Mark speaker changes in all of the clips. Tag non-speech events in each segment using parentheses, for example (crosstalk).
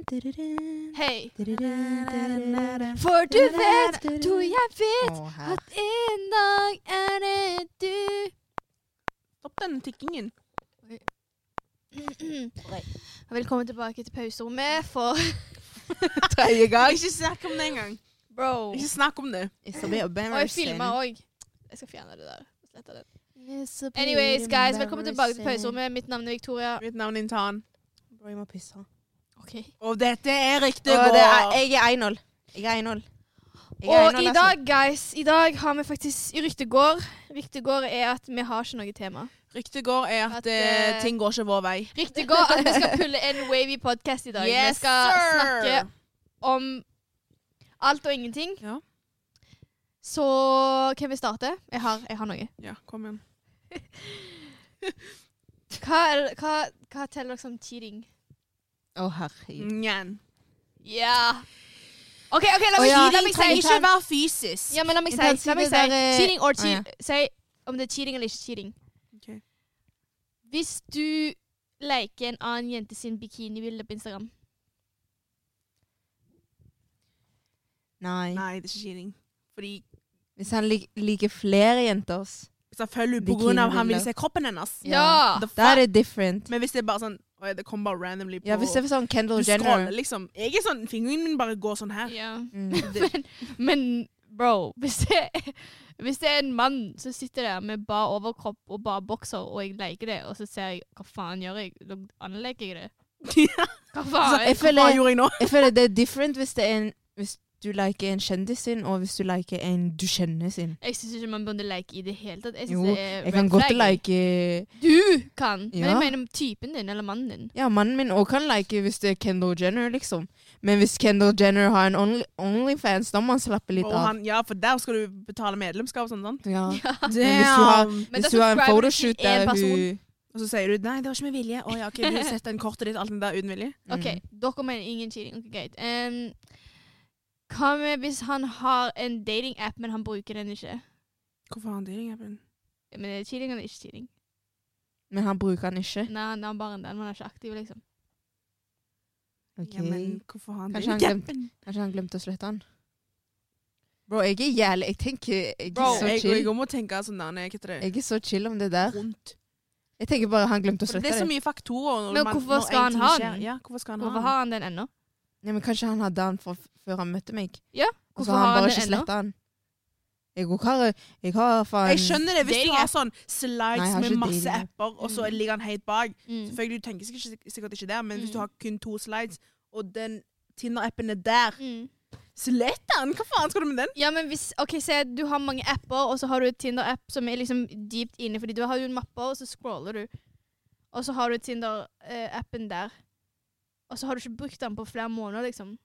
Speaker 1: Hei.
Speaker 2: Hei.
Speaker 1: For du vet, du jeg vet,
Speaker 2: Å, her.
Speaker 1: at en dag er det du
Speaker 3: Stopp denne tikkingen.
Speaker 1: Velkommen tilbake til pauserommet for
Speaker 2: Tredje gang.
Speaker 3: Ikke snakk om det engang.
Speaker 1: Bro.
Speaker 3: Ikke snakk om det.
Speaker 2: It's a bit
Speaker 1: Og jeg
Speaker 2: embarrassing.
Speaker 1: filma òg. Jeg skal fjerne det der. Slette det. Anyways, guys, velkommen tilbake til pauserommet. Mitt navn er Victoria.
Speaker 3: Mitt navn er Intan.
Speaker 2: Bro, jeg må pisse.
Speaker 1: Ok.
Speaker 3: Og dette er riktig
Speaker 2: Å,
Speaker 3: gård.
Speaker 2: det er, jeg er 1-0. Jeg er 1-0. Jeg er
Speaker 1: Og
Speaker 2: 1-0,
Speaker 1: i
Speaker 2: altså.
Speaker 1: dag, guys, i dag har vi faktisk i Ryktegård. Ryktegård er at vi har ikke noe tema.
Speaker 3: Ryktet går er at,
Speaker 1: At, eh,
Speaker 3: eh, ting går ikke vår vei.
Speaker 1: Ryktegård at vi skal pulle en wavy podcast i dag. vi skal snakke om alt og ingenting.
Speaker 3: Ja.
Speaker 1: Så kan vi starte? Jeg har, jeg har noe.
Speaker 3: Ja, kom igjen.
Speaker 1: Hva, er, hva, hva teller dere som cheating?
Speaker 2: Å, herregud.
Speaker 3: Njan.
Speaker 1: Ja. OK, ok, la meg,
Speaker 2: Å, ja.
Speaker 1: la meg si
Speaker 3: trenger ikke være fysisk.
Speaker 1: Ja, men la meg si,
Speaker 2: Intensitet
Speaker 1: la meg si.
Speaker 2: der er-
Speaker 1: cheating or
Speaker 2: Å,
Speaker 1: cheat. Si om det er cheating eller ikke cheating.
Speaker 3: Ok.
Speaker 1: Hvis du leker en annen jente sin bikinibilde på Instagram
Speaker 2: Nei.
Speaker 3: Nei, det er ikke cheating. Fordi
Speaker 2: Hvis han lik, liker flere jenter,
Speaker 3: selvfølgelig på grunn av han vil
Speaker 2: Bikinibilder.
Speaker 3: se kroppen hennes.
Speaker 1: Ja!
Speaker 2: da
Speaker 3: The fuck?
Speaker 2: er det different.
Speaker 3: Men hvis det er bare sånn Oi, det kom bare randomly på
Speaker 2: Ja, hvis det er sånn
Speaker 3: Du
Speaker 2: Kendall
Speaker 3: scroller
Speaker 2: Jenner
Speaker 3: liksom. Jeg er sånn, Fingeren min bare går sånn her.
Speaker 1: ja.
Speaker 2: mm.
Speaker 3: Det,
Speaker 1: Men bro, hvis det, hvis det er en mann som sitter der med bar overkropp og bare bokser, og jeg leker det, og så ser jeg hva faen gjør jeg? Da anlegger jeg det.
Speaker 2: (laughs)
Speaker 1: Hva
Speaker 3: Så,
Speaker 1: faen?
Speaker 2: Altså, jeg
Speaker 3: hva
Speaker 2: føler,
Speaker 3: gjorde jeg nå?
Speaker 2: jeg føler det er different hvis, det er en, hvis du liker en kjendis sin, og hvis du liker en du kjenner sin.
Speaker 1: Jeg syns ikke man burde leke i det hele tatt. Jeg
Speaker 2: Jo,
Speaker 1: synes det er
Speaker 2: Jeg
Speaker 1: red
Speaker 2: kan godt
Speaker 1: flag.
Speaker 2: like
Speaker 1: Du kan! Men
Speaker 2: Ja.
Speaker 1: jeg mener typen din, eller mannen din.
Speaker 2: Ja, mannen min òg kan like hvis det er Kendall Jenner, liksom. Men hvis Kendall Jenner har en only, Onlyfans, da må han slappe litt
Speaker 3: Og
Speaker 2: av.
Speaker 3: han, ja, for der skal du betale medlemskap og sånn, sant? (laughs)
Speaker 2: Ja. Men
Speaker 3: Damn.
Speaker 2: hvis du har,
Speaker 1: Men da
Speaker 2: hvis du har en
Speaker 1: subscriber du til
Speaker 2: photoshoot
Speaker 1: én
Speaker 2: der
Speaker 1: person.
Speaker 2: hun
Speaker 3: Og så sier du nei, det var ikke med vilje. Å ja, ok, du setter en kortet ditt, alt det der uten vilje.
Speaker 2: Mm.
Speaker 1: OK, dere mener ingen cheating. Ok, greit. Em, hva med hvis han har en datingapp, men han bruker den ikke?
Speaker 3: Hvorfor har han dating appen?
Speaker 1: Men er det cheating eller ikke cheating?
Speaker 2: Men han bruker den ikke.
Speaker 1: Nei, han har bare den, men han er ikke aktiv, liksom.
Speaker 2: Ok.
Speaker 3: Ja, men hvorfor har han
Speaker 2: Kanskje han
Speaker 3: dating appen?
Speaker 2: Kanskje han glemte å slette den. Bro, jeg er jævlig Jeg tenker Jeg er
Speaker 3: Bro,
Speaker 2: så
Speaker 3: jeg,
Speaker 2: chill.
Speaker 3: jeg må tenke sånn der, nei, hva heter det?
Speaker 2: Jeg er så chill om det der.
Speaker 3: Rundt.
Speaker 2: Jeg tenker bare han glemte å
Speaker 3: For
Speaker 2: slette
Speaker 3: det er så
Speaker 2: det.
Speaker 3: mye faktorer. når
Speaker 1: Men
Speaker 3: man-
Speaker 1: hvorfor
Speaker 3: når
Speaker 1: skal
Speaker 3: en
Speaker 1: han
Speaker 3: ting
Speaker 1: ha
Speaker 3: skjer.
Speaker 1: den?
Speaker 3: Ja, hvorfor skal han
Speaker 1: Hvorfor
Speaker 3: ha den?
Speaker 1: har han den ennå?
Speaker 2: Nei, men kanskje han hadde den fra f- før han møtte meg. Og så
Speaker 1: Hvorfor
Speaker 2: har
Speaker 1: har
Speaker 2: han bare
Speaker 1: han
Speaker 2: ikke
Speaker 1: den ennå?
Speaker 2: sletta den. Jeg går kar, jeg har faen
Speaker 3: Jeg skjønner det hvis du
Speaker 1: Dating
Speaker 3: har
Speaker 1: app.
Speaker 3: sånn
Speaker 2: Nei, jeg
Speaker 3: slides
Speaker 2: har
Speaker 3: med
Speaker 2: ikke
Speaker 3: masse
Speaker 2: dating app.
Speaker 3: apper, og så
Speaker 1: Mm.
Speaker 3: ligger han helt bak.
Speaker 1: Mm.
Speaker 3: Selvfølgelig, du tenker sikkert ikke, sikkert ikke der, men hvis du
Speaker 1: Mm.
Speaker 3: har kun to slides, og den Tinder-appen er der,
Speaker 1: Mm.
Speaker 3: slett den! Hva faen skal du med den?
Speaker 1: Ja, men hvis, ok, se, Du har mange apper, og så har du et Tinder-app som er liksom dypt inne. fordi du har jo en mappe, og så scroller du. Og så har du Tinder-appen der. Og så har du ikke brukt den på flere måneder, liksom.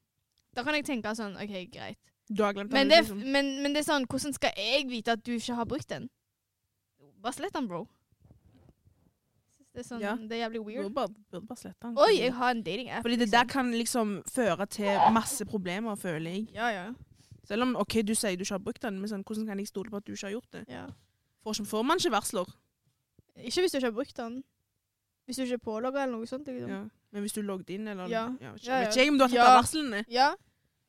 Speaker 1: Da kan jeg tenke sånn OK, greit.
Speaker 3: Du har glemt den.
Speaker 1: Men det, er-
Speaker 3: liksom.
Speaker 1: men, men det er sånn, hvordan skal jeg vite at du ikke har brukt den? Bare slett den, bro. Det er sånn,
Speaker 3: Ja.
Speaker 1: det er jævlig
Speaker 3: Du
Speaker 1: weird.
Speaker 3: burde bare, burde bare slette den.
Speaker 1: Oi, jeg har en dating-app.
Speaker 3: Fordi det der kan liksom føre til masse problemer, føler jeg.
Speaker 1: liksom. Ja, ja.
Speaker 3: Selv om ok, du sier du ikke har brukt den, men sånn, hvordan kan jeg stole på at du ikke har gjort det?
Speaker 1: ja.
Speaker 3: For som får man ikke varsler.
Speaker 1: Ikke hvis du ikke har brukt den. Hvis du ikke er pålogga eller noe sånt. Liksom.
Speaker 3: Ja. Men hvis du logget inn, eller
Speaker 1: Ja.
Speaker 3: vet ikke,
Speaker 1: Ja, ja.
Speaker 3: vet ikke jeg om du har tatt
Speaker 1: Ja.
Speaker 3: av varslene.
Speaker 1: Ja.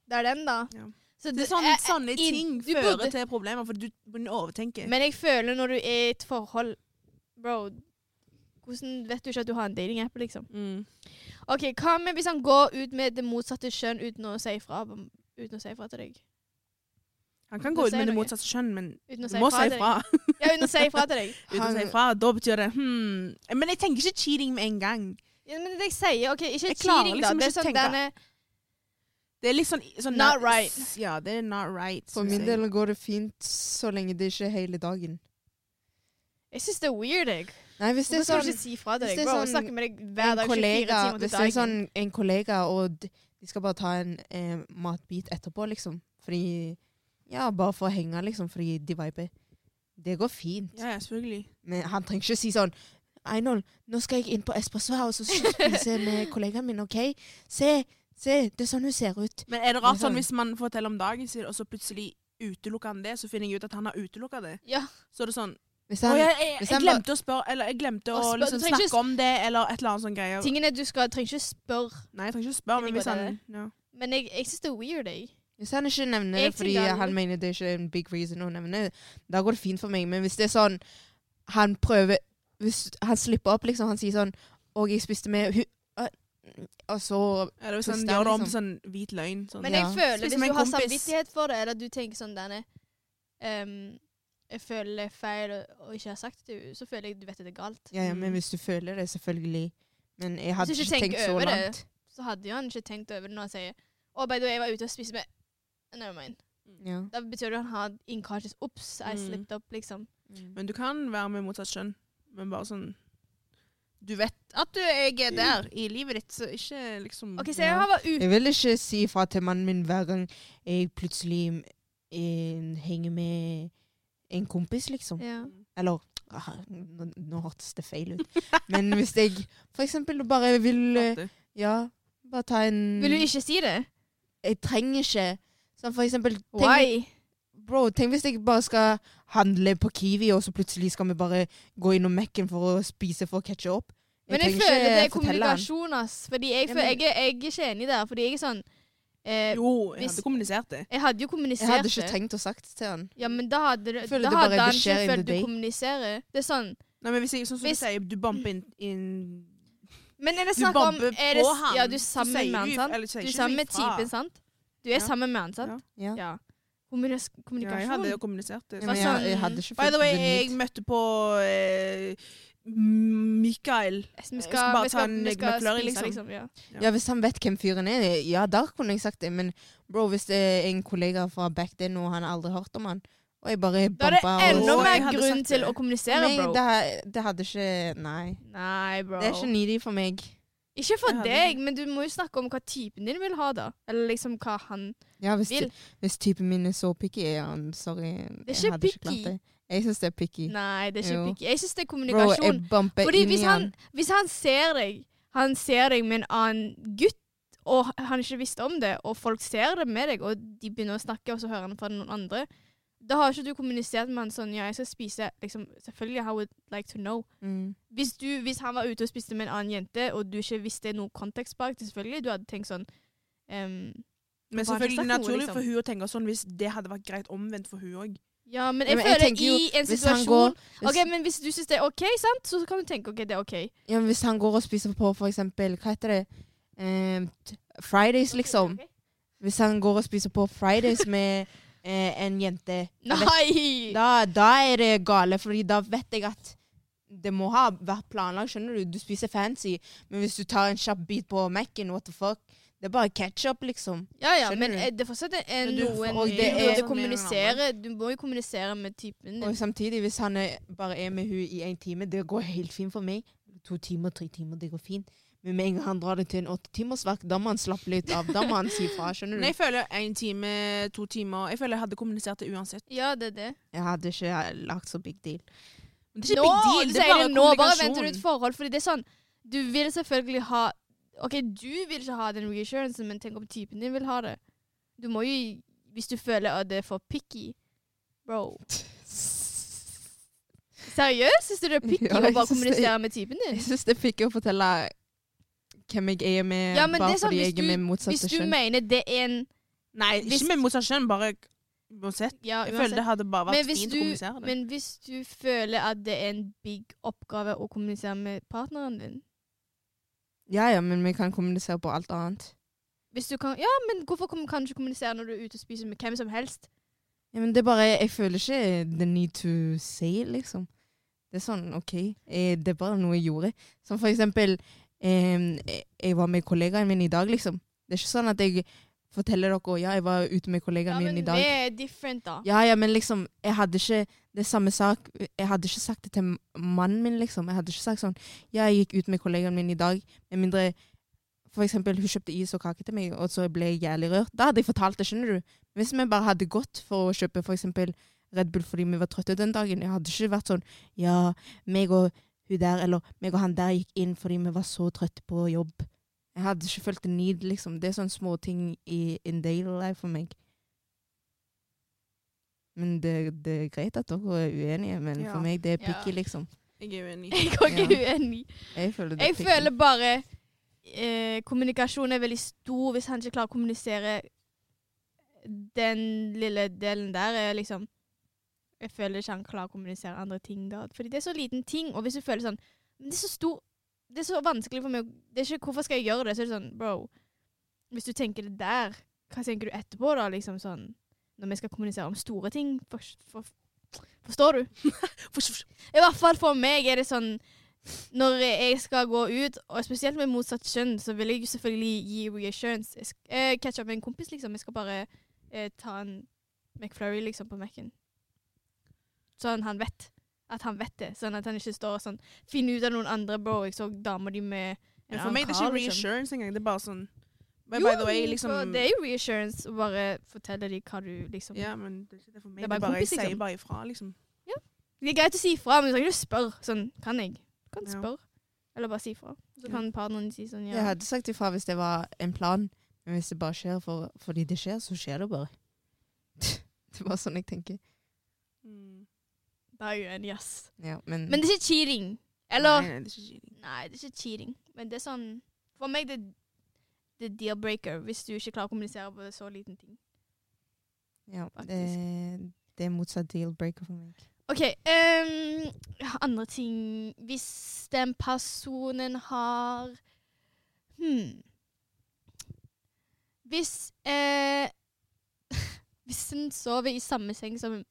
Speaker 1: Det er den, da.
Speaker 3: Ja.
Speaker 1: Så
Speaker 3: Det
Speaker 1: det-
Speaker 3: er sånn- sånne,
Speaker 1: jeg-
Speaker 3: sånne
Speaker 1: i-
Speaker 3: ting
Speaker 1: du
Speaker 3: fører
Speaker 1: burde-
Speaker 3: til problemer, for du begynner å overtenke.
Speaker 1: Men jeg føler når du er i et forhold Bro, hvordan vet du ikke at du har en datingapp, liksom?
Speaker 3: mm.
Speaker 1: OK, hva med hvis han går ut med det motsatte kjønn uten å si ifra, uten å si ifra til deg?
Speaker 3: Han kan
Speaker 1: Du
Speaker 3: gå ut
Speaker 1: sier
Speaker 3: med det
Speaker 1: noe.
Speaker 3: motsatte kjønn, men
Speaker 1: Uten å
Speaker 3: du
Speaker 1: si
Speaker 3: må
Speaker 1: ifra
Speaker 3: si
Speaker 1: til deg.
Speaker 3: ifra.
Speaker 1: Ja, uten å si ifra til deg.
Speaker 3: Uten å
Speaker 2: Han-
Speaker 3: si ifra, da betyr det hmm. Men jeg tenker ikke cheating med en gang.
Speaker 1: Ja, men det jeg sier, ok, ikke
Speaker 3: Jeg klarer
Speaker 1: cheating, da.
Speaker 3: liksom
Speaker 1: Det er
Speaker 3: ikke å
Speaker 1: sånn
Speaker 3: tenke.
Speaker 1: denne
Speaker 3: Det er litt sånn, sånn
Speaker 1: Not right.
Speaker 3: Ja, det er not right.
Speaker 2: For
Speaker 3: synes
Speaker 2: min
Speaker 3: jeg.
Speaker 2: del går det fint så lenge det ikke er hele dagen.
Speaker 1: Jeg syns det er weird, jeg.
Speaker 2: Nei, hvis det
Speaker 1: Hvorfor
Speaker 2: er
Speaker 1: skal du
Speaker 2: sånn
Speaker 1: ikke si fra til
Speaker 2: hvis
Speaker 1: deg,
Speaker 2: det er
Speaker 1: bro? Jeg
Speaker 2: sånn
Speaker 1: snakker med deg hver
Speaker 2: en
Speaker 1: dag 24
Speaker 2: kollega,
Speaker 1: timer
Speaker 2: hvis
Speaker 1: til
Speaker 2: det er sånn
Speaker 1: dagen.
Speaker 2: en kollega og d- de skal bare ta en eh, matbit etterpå, liksom. Fordi Ja, bare for å henge, liksom, fordi de viber. Det går fint.
Speaker 3: Ja, ja, selvfølgelig.
Speaker 2: Men han trenger ikke å si sånn Einol, nå skal jeg inn på Espresso House og spise med kollegaen min, OK? Se, se, det er sånn hun ser ut.
Speaker 3: Men er det
Speaker 2: Det
Speaker 3: rart
Speaker 2: er
Speaker 3: sånn
Speaker 2: sånn-
Speaker 3: hvis man forteller om dagen sin, og så plutselig utelukker han det, så finner jeg ut at han har utelukka det?
Speaker 1: Ja.
Speaker 3: Så er det sånn
Speaker 2: Hvis
Speaker 3: Og
Speaker 2: han,
Speaker 3: jeg, jeg,
Speaker 2: hvis
Speaker 3: jeg
Speaker 2: han bare-
Speaker 3: glemte å spørre, eller jeg glemte å,
Speaker 1: Å, spør- du
Speaker 3: liksom,
Speaker 1: trenger ikke
Speaker 3: snakke om det, eller et eller annet sånn greier.
Speaker 1: Tingene du skal, trenger ikke spørre.
Speaker 3: Nei, jeg trenger ikke å spørre, men
Speaker 1: Jeg
Speaker 3: hvis
Speaker 1: liker
Speaker 3: han
Speaker 1: det.
Speaker 3: ja.
Speaker 1: Men jeg, jeg syns det er weird, jeg.
Speaker 2: hvis han ikke nevner
Speaker 1: Jeg
Speaker 2: det fordi
Speaker 1: tenker han-
Speaker 2: han mener det ikke er en big reason å nevne det, da går det fint for meg. Men hvis det er sånn Han prøver Hvis han slipper opp, liksom. Han sier sånn Og jeg spiste med hu... øh, Og så
Speaker 3: Eller hvis han
Speaker 2: Twister,
Speaker 3: gjør det om til
Speaker 2: liksom.
Speaker 3: sånn hvit løgn. Sånn.
Speaker 1: Men
Speaker 2: Ja.
Speaker 1: jeg føler,
Speaker 3: Spis
Speaker 1: hvis
Speaker 3: med
Speaker 1: du
Speaker 3: en
Speaker 1: har
Speaker 3: kompis.
Speaker 1: samvittighet for det, eller du tenker sånn denne ehm, Jeg føler det er feil og, og ikke har sagt det til henne, så føler jeg du vet at det er galt.
Speaker 2: Ja, ja, men
Speaker 3: Mm.
Speaker 2: hvis du føler det, selvfølgelig. Men jeg hadde
Speaker 1: Hvis du
Speaker 2: ikke
Speaker 1: ikke
Speaker 2: tenkt
Speaker 1: tenker
Speaker 2: så
Speaker 1: over det.
Speaker 2: langt.
Speaker 1: Så hadde jo han ikke tenkt over det når han sier Å, by the way, jeg var ute og spiste med Never mind.
Speaker 2: Ja.
Speaker 1: Da betyr det han har innkasjes. Ops, I
Speaker 3: Mm.
Speaker 1: slipped up, liksom.
Speaker 3: Men du kan være med motsatt kjønn. Men bare sånn Du vet at du jeg er der i livet ditt, så ikke
Speaker 2: Mm.
Speaker 3: liksom
Speaker 1: Mm. OK, så jeg har vært ute
Speaker 2: Jeg vil ikke si fra til mannen min hver gang jeg plutselig eh, henger med en kompis, liksom.
Speaker 1: ja.
Speaker 2: Eller ah, nå, nå hørtes det feil ut. Men hvis jeg for eksempel bare vil eh,
Speaker 3: Fattig.
Speaker 2: Ja, bare ta en
Speaker 1: Vil du ikke si det?
Speaker 2: Jeg trenger ikke Sånn for eksempel tenk,
Speaker 1: Why?
Speaker 2: Bro, tenk hvis jeg bare skal handle på Kiwi, og så plutselig skal vi bare gå innom Mac-en for å spise for å catche opp.
Speaker 1: Men jeg
Speaker 2: trenger
Speaker 1: føler
Speaker 2: ikke
Speaker 1: det er
Speaker 2: fortelle han.
Speaker 1: kommunikasjon, ass. Fordi jeg,
Speaker 2: Ja,
Speaker 1: føler,
Speaker 2: men-
Speaker 1: jeg, er- jeg er ikke enig der. Fordi jeg er sånn eh,
Speaker 3: Jo, jeg
Speaker 1: hvis-
Speaker 3: hadde kommunisert det.
Speaker 1: Jeg hadde jo
Speaker 2: Jeg
Speaker 1: kommunisert
Speaker 2: hadde ikke
Speaker 1: det.
Speaker 2: trengt å sagt til han.
Speaker 1: Ja, men da hadde, det-
Speaker 2: Jeg føler
Speaker 1: da
Speaker 2: det bare
Speaker 1: hadde han
Speaker 2: beskjed
Speaker 1: ikke
Speaker 2: in
Speaker 1: følt
Speaker 2: the
Speaker 1: du
Speaker 2: day.
Speaker 1: kommuniserer. Det er sånn.
Speaker 3: Nei, men hvis jeg, sånn som
Speaker 1: Hvis-
Speaker 3: du sier, du bumper inn, inn
Speaker 1: Men er det
Speaker 3: Du
Speaker 1: snakk om
Speaker 3: bomber
Speaker 1: er det,
Speaker 3: på han.
Speaker 1: Ja, du er
Speaker 3: Så
Speaker 1: sammen
Speaker 3: sier
Speaker 1: med han,
Speaker 3: du-
Speaker 1: sant?
Speaker 3: eller sier
Speaker 1: Du er
Speaker 3: ikke
Speaker 1: sammen med
Speaker 3: ifra.
Speaker 1: typen, sant? Du er
Speaker 3: Ja.
Speaker 1: sammen med han, sant?
Speaker 2: Ja.
Speaker 1: Ja. Kommunis-
Speaker 3: Ja, jeg hadde
Speaker 1: Kommunikasjon.
Speaker 3: jo kommunisert det.
Speaker 2: Ja, men
Speaker 1: Hva
Speaker 2: jeg,
Speaker 1: sånn-
Speaker 2: jeg hadde ikke
Speaker 3: By
Speaker 2: følt
Speaker 3: the way,
Speaker 2: the need.
Speaker 3: jeg møtte på eh, Mikael.
Speaker 1: Vi
Speaker 3: Jeg skal bare
Speaker 1: vi
Speaker 3: ta en
Speaker 1: vi skal
Speaker 3: McFlurry,
Speaker 1: spise,
Speaker 3: liksom.
Speaker 1: ja.
Speaker 2: Ja, Hvis han vet hvem fyren er, ja, da kunne jeg sagt det. Men bro, hvis det er en kollega fra back then, og han har aldri hørt om han, og jeg bare
Speaker 1: Da er det
Speaker 2: bumpa
Speaker 1: enda
Speaker 3: Å, jeg
Speaker 1: mer
Speaker 3: hadde
Speaker 1: grunn
Speaker 3: sagt
Speaker 1: til
Speaker 3: det.
Speaker 1: å kommunisere,
Speaker 2: Nei,
Speaker 1: bro.
Speaker 2: det, det hadde ikke Nei.
Speaker 1: Nei, bro.
Speaker 2: Det er ikke needy for meg.
Speaker 1: Ikke
Speaker 3: Jeg
Speaker 1: for
Speaker 3: hadde
Speaker 1: deg, men du må jo snakke om hva typen din vil ha, da. Eller liksom hva han
Speaker 2: Ja, Hvis,
Speaker 1: Vil.
Speaker 2: hvis typen min er så picky, er han sorry.
Speaker 1: Det er
Speaker 2: jeg
Speaker 1: ikke
Speaker 2: hadde ikke
Speaker 1: picky.
Speaker 2: klart det. Jeg syns det er picky.
Speaker 1: Nei, det er ikke
Speaker 2: Jo.
Speaker 1: picky. Jeg syns det er
Speaker 2: Bro, jeg
Speaker 1: kommunikasjon.
Speaker 2: bumper
Speaker 1: Fordi
Speaker 2: inn i
Speaker 1: hvis han,
Speaker 2: han.
Speaker 1: hvis han ser deg Han ser deg med en annen gutt, og han ikke visste om det, og folk ser det med deg, og de begynner å snakke, og så hører han fra noen andre Da har ikke du kommunisert med han sånn Ja, jeg skal spise liksom, Selvfølgelig, I would like to know.
Speaker 2: Mm.
Speaker 1: Hvis, du, hvis han var ute og spiste med en annen jente, og du ikke visste noe kontekst bak det, selvfølgelig, du hadde tenkt sånn ehm,
Speaker 3: Men
Speaker 1: Hva har
Speaker 3: selvfølgelig
Speaker 1: jeg sagt nå,
Speaker 3: naturlig
Speaker 1: liksom?
Speaker 3: for hun å tenke sånn hvis det hadde vært greit omvendt for hun òg.
Speaker 1: Ja, men
Speaker 2: Ja,
Speaker 1: jeg
Speaker 2: men jeg
Speaker 1: føler
Speaker 2: tenker jo,
Speaker 1: i en
Speaker 2: hvis han
Speaker 1: situasjon
Speaker 2: går-
Speaker 1: OK,
Speaker 2: Hvis,
Speaker 1: men hvis du syns det er OK, sant, så kan du tenke OK, det er OK.
Speaker 2: ja, men hvis han går og spiser på for eksempel, hva heter det, Ehm, t- Fridays, liksom. Hvis han går og spiser på Fridays med (laughs) eh, en jente jeg vet
Speaker 1: Nei!
Speaker 2: da, da er det gale, fordi da vet jeg at det må ha vært planlagt, skjønner du? Du spiser fancy, men hvis du tar en kjapp bit på Mac-en, what the fuck? Det er bare ketchup, liksom.
Speaker 1: Ja, ja,
Speaker 2: Skjønner
Speaker 1: men
Speaker 2: du?
Speaker 1: eh, det er fortsatt en,
Speaker 3: Men du får-
Speaker 1: noen
Speaker 2: og
Speaker 1: du
Speaker 2: det
Speaker 1: må
Speaker 2: er-
Speaker 1: jo kommunisere Du må jo kommunisere med typen
Speaker 2: Og
Speaker 1: din.
Speaker 2: samtidig, hvis han er, bare er med hun i en time, det går helt fint for meg. To timer, tre timer, det går fint. Men med en gang han drar det til en åttetimersverk, da må han slappe litt av. Da må han si fra, skjønner
Speaker 3: Men jeg
Speaker 2: du?
Speaker 3: føler en time, to timer Jeg føler jeg hadde kommunisert det uansett.
Speaker 1: Ja, det er det.
Speaker 2: Jeg hadde ikke lagt så big deal.
Speaker 3: Men det er
Speaker 1: nå,
Speaker 3: ikke big deal,
Speaker 1: du sier
Speaker 3: det er bare
Speaker 1: nå, bare
Speaker 3: kommunikasjon.
Speaker 1: venter du et forhold. Fordi det er sånn Du vil selvfølgelig ha OK, du vil ikke ha den reassuransen, men tenk om typen din vil ha det. Du må jo Hvis du føler at det er for picky Bro. Seriøst? Syns du det er
Speaker 3: (laughs)
Speaker 1: picky
Speaker 2: Ja,
Speaker 1: å
Speaker 2: jeg
Speaker 1: bare
Speaker 2: synes det-
Speaker 1: kommunisere med typen din?
Speaker 2: (laughs) Jeg syns det fikk å fortelle hvem jeg er med,
Speaker 1: Ja, men det
Speaker 2: bare
Speaker 1: er sånn,
Speaker 2: fordi
Speaker 1: hvis
Speaker 2: jeg er
Speaker 1: du-
Speaker 2: med
Speaker 1: Hvis
Speaker 2: motsatte
Speaker 1: du
Speaker 2: kjønn.
Speaker 1: mener det er en
Speaker 3: Nei,
Speaker 1: Hvis-
Speaker 3: ikke med motsatt kjønn, bare uansett.
Speaker 1: Ja,
Speaker 3: Jeg
Speaker 1: uansett.
Speaker 3: føler det hadde bare
Speaker 1: Men
Speaker 3: vært
Speaker 1: hvis
Speaker 3: fint
Speaker 1: du-
Speaker 3: å kommunisere det.
Speaker 1: Men hvis du føler at det er en big oppgave å kommunisere med partneren din
Speaker 2: Ja, ja, men vi kan kommunisere på alt annet.
Speaker 1: hvis du kan, Ja, men hvorfor kom- kan du ikke kommunisere når du er ute og spiser med hvem som helst?
Speaker 2: Ja, men det er bare, jeg føler ikke the need to say, liksom. Det er sånn, ok, eh, det er bare noe jeg gjorde. Som for eksempel, eh, jeg var med kollegaen min i dag, liksom. Det er ikke sånn at jeg forteller dere, ja, jeg var ute med kollegaen
Speaker 1: Ja, men
Speaker 2: min i
Speaker 1: vi
Speaker 2: dag.
Speaker 1: er different, da.
Speaker 2: Ja, ja, men liksom, jeg hadde ikke det er samme sak. Jeg hadde ikke sagt det til mannen min, liksom. Jeg hadde ikke sagt sånn Ja, jeg gikk ut med kollegaen min i dag, med mindre for eksempel hun kjøpte is og kake til meg, og så ble jeg jævlig rørt. Da hadde jeg fortalt det, skjønner du. Hvis vi bare hadde gått for å kjøpe for eksempel Red Bull fordi vi var trøtte den dagen, jeg hadde ikke vært sånn Ja, meg og hun der, eller meg og han der gikk inn fordi vi var så trøtte på jobb. Jeg hadde ikke følt the need, liksom. Det er sånne småting i in daily life for meg. Men det, det er greit at dere er uenige, men
Speaker 3: Ja.
Speaker 2: for meg det er
Speaker 1: Ja.
Speaker 2: picky, liksom.
Speaker 3: Jeg er (laughs) uenig.
Speaker 1: (laughs) Jeg er ikke uenig.
Speaker 2: Jeg føler det
Speaker 1: Jeg
Speaker 2: er picky.
Speaker 1: føler bare eh, kommunikasjon er veldig stor hvis han ikke klarer å kommunisere den lille delen der. Er liksom Jeg føler ikke han klarer å kommunisere andre ting da. Fordi det er så liten ting. Og hvis du føler sånn Men det er så stor Det er så vanskelig for meg å Det er ikke hvorfor skal jeg gjøre det? Så er det sånn, bro Hvis du tenker det der, hva tenker du etterpå, da? Liksom sånn Når vi skal kommunisere om store ting. For, for, forstår du? I hvert fall for meg er det sånn Når jeg skal gå ut, og spesielt med motsatt kjønn, så vil jeg jo selvfølgelig gi reassurance. Jeg sk- eh, catch up med en kompis, liksom. Jeg skal bare eh, ta en McFlurry, liksom, på Mac-en. Sånn han vet. At han vet det. Sånn at han ikke står og sånn Finner ut av noen andre, bro. Jeg så dama di med en
Speaker 3: Men
Speaker 1: annen
Speaker 3: for meg det er
Speaker 1: kar,
Speaker 3: ikke
Speaker 1: liksom.
Speaker 3: reassurance engang. Det er bare sånn By,
Speaker 1: Jo,
Speaker 3: by the way,
Speaker 1: men
Speaker 3: liksom
Speaker 1: for Det er jo reassurance å bare fortelle dem hva du liksom
Speaker 3: Ja, men det er ikke det for meg.
Speaker 1: Det er
Speaker 3: Det
Speaker 1: bare
Speaker 3: er bare, jeg
Speaker 1: kompis, liksom.
Speaker 3: sier bare ifra, liksom.
Speaker 1: Det er greit å si ifra, men du trenger ikke spørre. Sånn, kan jeg? Du kan
Speaker 3: Ja.
Speaker 1: spørre. Eller bare si ifra. Så kan partneren si sånn ja.
Speaker 2: Jeg hadde sagt ifra hvis det var en plan, men hvis det bare skjer for, fordi det skjer, så skjer det bare. (laughs) det er bare sånn jeg tenker.
Speaker 3: Mm.
Speaker 1: Da er jeg uenig, ass.
Speaker 2: Ja, men,
Speaker 1: Men det er ikke cheating. Eller Nei,
Speaker 3: Nei, nei, det
Speaker 1: det
Speaker 3: er ikke cheating.
Speaker 1: er ikke cheating. Men det er sånn For meg det, det er deal breaker hvis du ikke klarer å kommunisere på så liten ting.
Speaker 2: ja, det,
Speaker 1: faktisk.
Speaker 2: det er motsatt deal-breaker for meg.
Speaker 1: OK. ehm, andre ting Hvis den personen har hmm, Hvis eh, (laughs) Hvis en sover i samme seng som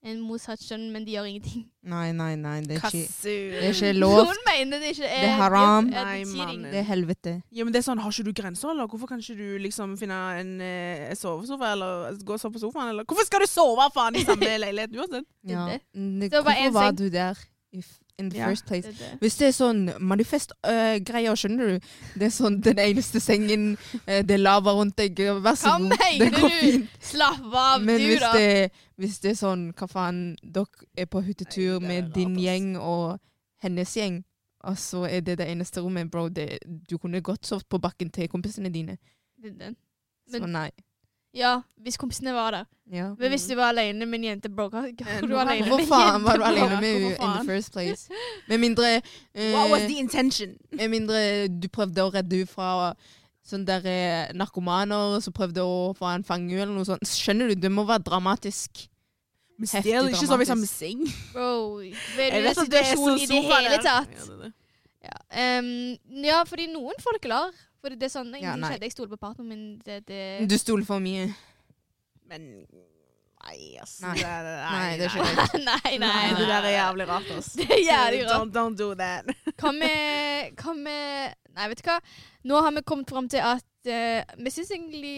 Speaker 1: en motsatt kjønn, men de gjør ingenting
Speaker 2: Nei, nei, nei, det er ikke, det er
Speaker 3: Kassur.
Speaker 2: ikke lov.
Speaker 1: Noen mener det ikke er
Speaker 2: Det er haram.
Speaker 1: er det
Speaker 3: Nei,
Speaker 1: cheating?
Speaker 3: mannen.
Speaker 2: Det er helvete.
Speaker 3: Ja, men det er sånn, Har ikke du grenser, eller? Hvorfor kan ikke du liksom finne en eh, sovesofa, eller gå og sove på sofaen? eller? Hvorfor skal du sove faen i
Speaker 1: (laughs)
Speaker 3: samme leilighet uansett?
Speaker 1: Det er
Speaker 2: Ja.
Speaker 1: det.
Speaker 2: Mm, Det,
Speaker 1: Det var bare
Speaker 2: hvorfor
Speaker 1: en
Speaker 2: var
Speaker 1: seng.
Speaker 2: du der if, in the
Speaker 3: Ja.
Speaker 2: first place?
Speaker 1: Det er det.
Speaker 2: Hvis det er sånn manifest-greier, skjønner du? Det er sånn den eneste sengen, øh, det er lava rundt deg, øh, vær så
Speaker 1: Hva
Speaker 2: god.
Speaker 1: mener
Speaker 2: det går
Speaker 1: du?
Speaker 2: fint.
Speaker 1: Slapp av,
Speaker 2: Men
Speaker 1: du,
Speaker 2: hvis
Speaker 1: da.
Speaker 2: det, hvis det er sånn, hva faen, dere er på hyttetur
Speaker 3: Nei, det er
Speaker 2: med
Speaker 3: rart,
Speaker 2: din
Speaker 3: ass.
Speaker 2: gjeng og hennes gjeng, og så er det det eneste rommet, bro, det, du kunne godt sovet på bakken til kompisene dine.
Speaker 1: Det er den.
Speaker 2: Så
Speaker 1: Men-
Speaker 2: nei.
Speaker 1: Ja, hvis kompisene var der.
Speaker 2: Ja.
Speaker 1: Men hvis du var alene med en jente, bro, hva
Speaker 3: Eh,
Speaker 1: hvorfor du
Speaker 3: nå
Speaker 1: var
Speaker 3: var
Speaker 1: alene med
Speaker 2: Hvorfor
Speaker 1: en
Speaker 2: faen var du
Speaker 1: jente, bro?
Speaker 2: alene med henne
Speaker 3: Hvorfor
Speaker 2: in the
Speaker 3: faen?
Speaker 2: first place? Med mindre, eh,
Speaker 3: What was the intention?
Speaker 2: med mindre du prøvde å redde henne fra sånne der eh, narkomaner, så prøvde å få en fange eller noe sånt. Skjønner du, det må være dramatisk.
Speaker 3: Men
Speaker 2: Heftig
Speaker 3: stjel ikke sove i samme
Speaker 2: dramatisk.
Speaker 3: seng.
Speaker 1: Bro,
Speaker 3: Jeg
Speaker 1: vel
Speaker 3: vet at det er
Speaker 1: situasjon
Speaker 3: sånn
Speaker 1: i det
Speaker 3: sofa
Speaker 1: hele
Speaker 3: der.
Speaker 1: tatt.
Speaker 3: Ja, det er det.
Speaker 1: Ja, ehm, ja fordi noen folk er lar. For det er sånn,
Speaker 2: Ja,
Speaker 1: ingenting
Speaker 2: nei.
Speaker 1: skjedde, jeg stoler på partneren min. Det, det.
Speaker 3: Eh.
Speaker 2: Du stoler for mye.
Speaker 3: Men Nei, ass.
Speaker 2: Nei.
Speaker 3: Det, er-
Speaker 2: Nei, det er ikke
Speaker 3: nei.
Speaker 2: det.
Speaker 1: (laughs) nei, nei,
Speaker 3: Nei, det der er
Speaker 1: nei.
Speaker 3: jævlig rart, ass.
Speaker 1: (laughs) Det (laughs) er jævlig rart.
Speaker 3: Don't, don't do that.
Speaker 1: Hva med Hva med Nei, vet du hva? Nå har vi kommet fram til at eh, vi syns egentlig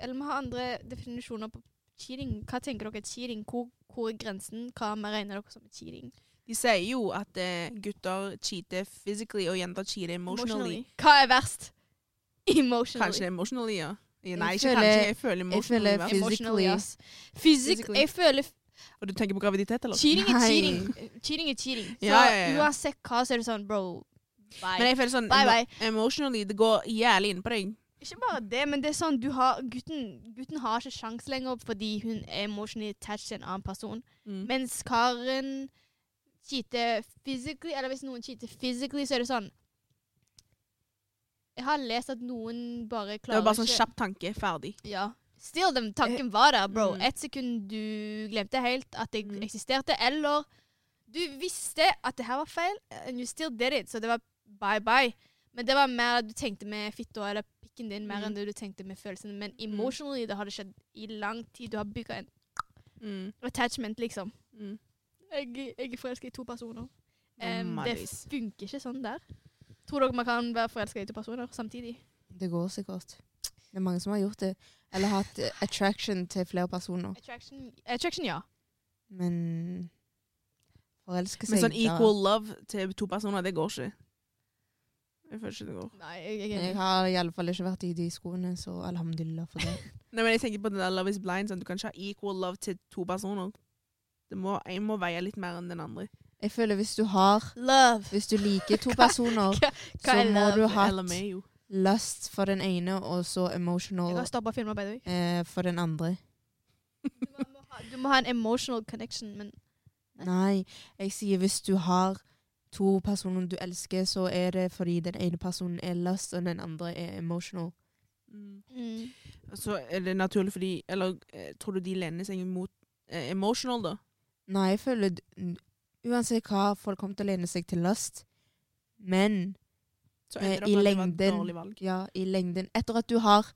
Speaker 1: Eller vi har andre definisjoner på cheating. Hva tenker dere er cheating? Hvor, hvor er grensen? Hva vi regner dere som er cheating?
Speaker 3: De sier jo at eh, gutter cheater physically, og jenter cheater emotionally.
Speaker 1: Hva er verst? Emotionally.
Speaker 3: Kanskje det er emotionally, ja. Ja,
Speaker 2: Jeg
Speaker 3: Nei, ikke
Speaker 2: føler-
Speaker 3: kanskje. Jeg føler emotionally.
Speaker 2: føler
Speaker 3: i hvert fall.
Speaker 1: Emotionally,
Speaker 2: Physically.
Speaker 1: ass. Physic
Speaker 3: Physically.
Speaker 1: jeg føler f-
Speaker 3: Og du tenker på graviditet, eller?
Speaker 1: Cheating er
Speaker 2: Nei.
Speaker 1: cheating. Cheating er
Speaker 3: (laughs)
Speaker 1: cheating. Så
Speaker 3: Ja, ja, ja.
Speaker 1: uansett hva, så er det sånn, bro.
Speaker 3: Men
Speaker 1: Bye.
Speaker 3: jeg føler sånn
Speaker 1: Bye, bye.
Speaker 3: emotionally, det går jævlig inn på deg. Mm.
Speaker 1: Ikke bare det, men det er sånn du har, gutten, gutten har ikke sjans lenger fordi hun er emotionally attached til en annen person.
Speaker 3: Mm.
Speaker 1: Mens karen cheater physically, eller hvis noen cheater physically, så er det sånn Jeg har lest at noen bare
Speaker 3: Det var
Speaker 1: klarer
Speaker 3: bare sånn
Speaker 1: ikke
Speaker 3: kjapp tanke, ferdig.
Speaker 1: ja. Still, den tanken var der, bro.
Speaker 3: Mm.
Speaker 1: Ett sekund du glemte helt at jeg
Speaker 3: Mm.
Speaker 1: eksisterte, eller du visste at det her var feil, and you still did it, så det var bye-bye. Men det var mer du tenkte med fitta eller pikken din, mer
Speaker 3: Mm.
Speaker 1: enn det du tenkte med følelsene. Men emotionally, det har det skjedd i lang tid. Du har bygga en
Speaker 3: Mm.
Speaker 1: attachment, liksom.
Speaker 3: Mm.
Speaker 1: Jeg, jeg er forelska i to personer.
Speaker 3: Ja,
Speaker 1: Em, det
Speaker 3: Maddis.
Speaker 1: funker ikke sånn der. Tror dere man kan være forelska i to personer samtidig?
Speaker 2: Det går sikkert. Det er mange som har gjort det. Eller hatt eh, attraction til flere personer.
Speaker 1: Attraction, attraction ja.
Speaker 2: Men forelske seg
Speaker 3: Men sånn
Speaker 2: da-
Speaker 3: equal love til to personer, det går ikke. Jeg føler ikke det går.
Speaker 1: Nei, jeg, jeg,
Speaker 2: Men
Speaker 1: er
Speaker 2: Jeg
Speaker 1: enig.
Speaker 2: har i alle fall ikke vært i de skoene, så alhamdulillah for det.
Speaker 3: Nei, men jeg tenker på det der love is blind, sånn du kan ikke ha equal love til to personer. Det må, en må veie litt mer enn den andre.
Speaker 2: Jeg føler hvis du har
Speaker 1: Love.
Speaker 2: Hvis du liker to personer,
Speaker 1: (laughs) hva-
Speaker 2: så
Speaker 1: er
Speaker 2: må
Speaker 1: love?
Speaker 2: du ha
Speaker 3: Eller meg, jo.
Speaker 2: lust for den ene, og så
Speaker 1: Jeg
Speaker 2: emotional
Speaker 1: har stoppa filmer, by the way.
Speaker 2: eh, for den andre.
Speaker 1: Du må, må ha, Du må ha en emotional connection, men
Speaker 2: Nei, jeg sier hvis du har to personer du elsker, så er det fordi den ene personen er lust, og den andre er emotional.
Speaker 3: Mm.
Speaker 1: mm.
Speaker 3: Så er det naturlig fordi Eller eh, tror du de lener seg mot eh, emotional, da?
Speaker 2: Nei, jeg føler d- n- Uansett hva, folk kommer til å lene seg til lust. Men
Speaker 3: Så
Speaker 2: Eh,
Speaker 3: ender det
Speaker 2: i
Speaker 3: opp med at det var et
Speaker 2: lengden.
Speaker 3: dårlig valg.
Speaker 2: ja, i lengden Etter at du har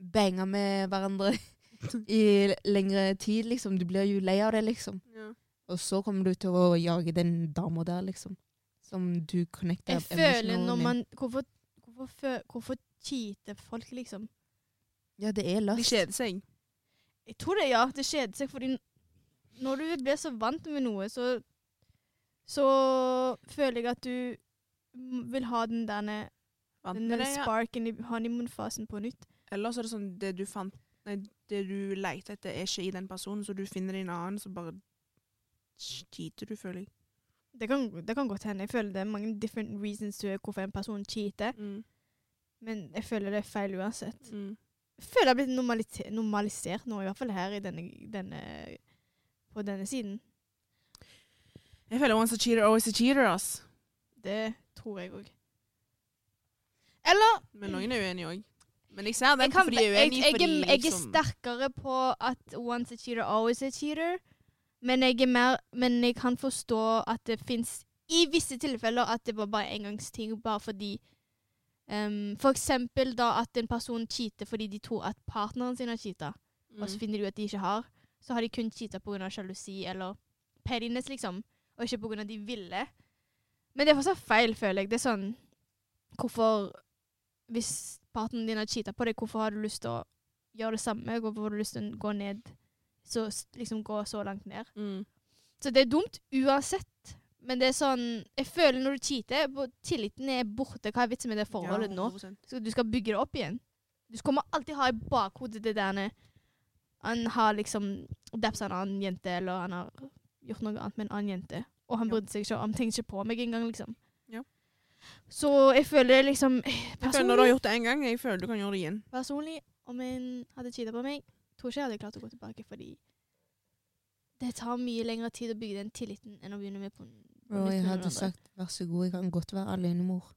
Speaker 2: banga med hverandre (laughs) i lengre tid, liksom. Du blir jo lei av det, liksom.
Speaker 3: Ja.
Speaker 2: Og så kommer du til å jage den dama der, liksom. Som du connecter
Speaker 1: Jeg føler
Speaker 2: emotional
Speaker 1: når
Speaker 2: med.
Speaker 1: man Hvorfor, hvorfor, fø- hvorfor cheater folk, liksom?
Speaker 2: Ja, det er
Speaker 3: De
Speaker 2: lust.
Speaker 3: kjeder seg.
Speaker 1: Jeg tror det, ja. Det kjeder seg, fordi n- når du blir så vant med noe, så Så føler jeg at du m- vil ha den derne
Speaker 3: Vant
Speaker 1: den
Speaker 3: med
Speaker 1: der
Speaker 3: det, ja.
Speaker 1: sparken i honeymoon-fasen på nytt.
Speaker 3: Eller så er det sånn det du fant Nei, det du leter etter, er ikke i den personen, så du finner en annen, så bare cheater du, føler jeg.
Speaker 1: Det kan, det kan godt hende. Jeg føler det er mange different reasons to hvorfor en person cheater,
Speaker 3: Mm.
Speaker 1: men jeg føler det er feil uansett.
Speaker 3: Mm.
Speaker 1: Jeg føler det har blitt normalite- normalisert nå, i hvert fall her i denne, denne på denne siden.
Speaker 3: Jeg føler once a cheater, always a cheater, ass.
Speaker 1: Det tror jeg òg. Eller
Speaker 3: Men noen er uenige òg. Men jeg ser den
Speaker 1: jeg, kan,
Speaker 3: fordi
Speaker 1: jeg,
Speaker 3: jeg er
Speaker 1: jeg,
Speaker 3: uenig,
Speaker 1: er,
Speaker 3: fordi
Speaker 1: jeg er
Speaker 3: liksom
Speaker 1: sterkere på at once a cheater, always a cheater. Men jeg, er mer, men jeg kan forstå at det fins i visse tilfeller at det var bare engangsting, bare fordi um, For eksempel da at en person cheater fordi de tror at partneren sin har cheata, og så
Speaker 3: mm.
Speaker 1: finner de ut at de ikke har. Så har de kun cheata pga. sjalusi eller pettiness, liksom, og ikke pga. de ville. Men det er fortsatt feil, føler jeg. Det er sånn Hvorfor Hvis partneren din har cheata på deg, hvorfor har du lyst til å gjøre det samme? Hvorfor har du lyst til å gå ned så, s- liksom gå så langt ned?
Speaker 3: Mm.
Speaker 1: Så det er dumt uansett. Men det er sånn Jeg føler når du cheater, bo- tilliten er borte. Hva er vitsen med det forholdet
Speaker 3: Ja,
Speaker 1: nå?
Speaker 3: 100%.
Speaker 1: Så du skal bygge det opp igjen. Du kommer alltid ha i bakhodet det der nede. Han har liksom dapsa en annen jente, eller han har gjort noe annet med en annen jente. Og han
Speaker 3: Ja.
Speaker 1: brydde seg ikke, han tenkte ikke på meg engang, liksom.
Speaker 3: Ja.
Speaker 1: Så jeg føler liksom
Speaker 3: Jeg føler når du har
Speaker 1: Personlig,
Speaker 3: gjort det én gang, jeg føler du kan gjøre det igjen.
Speaker 1: personlig om en hadde cheata på meg, tror ikke jeg hadde klart å gå tilbake, fordi det tar mye lengre tid å bygge den tilliten enn å begynne med på på nytt
Speaker 2: Og jeg
Speaker 1: med
Speaker 2: hadde
Speaker 1: hverandre.
Speaker 2: sagt vær så god, jeg kan godt være
Speaker 1: (laughs)
Speaker 2: alenemor.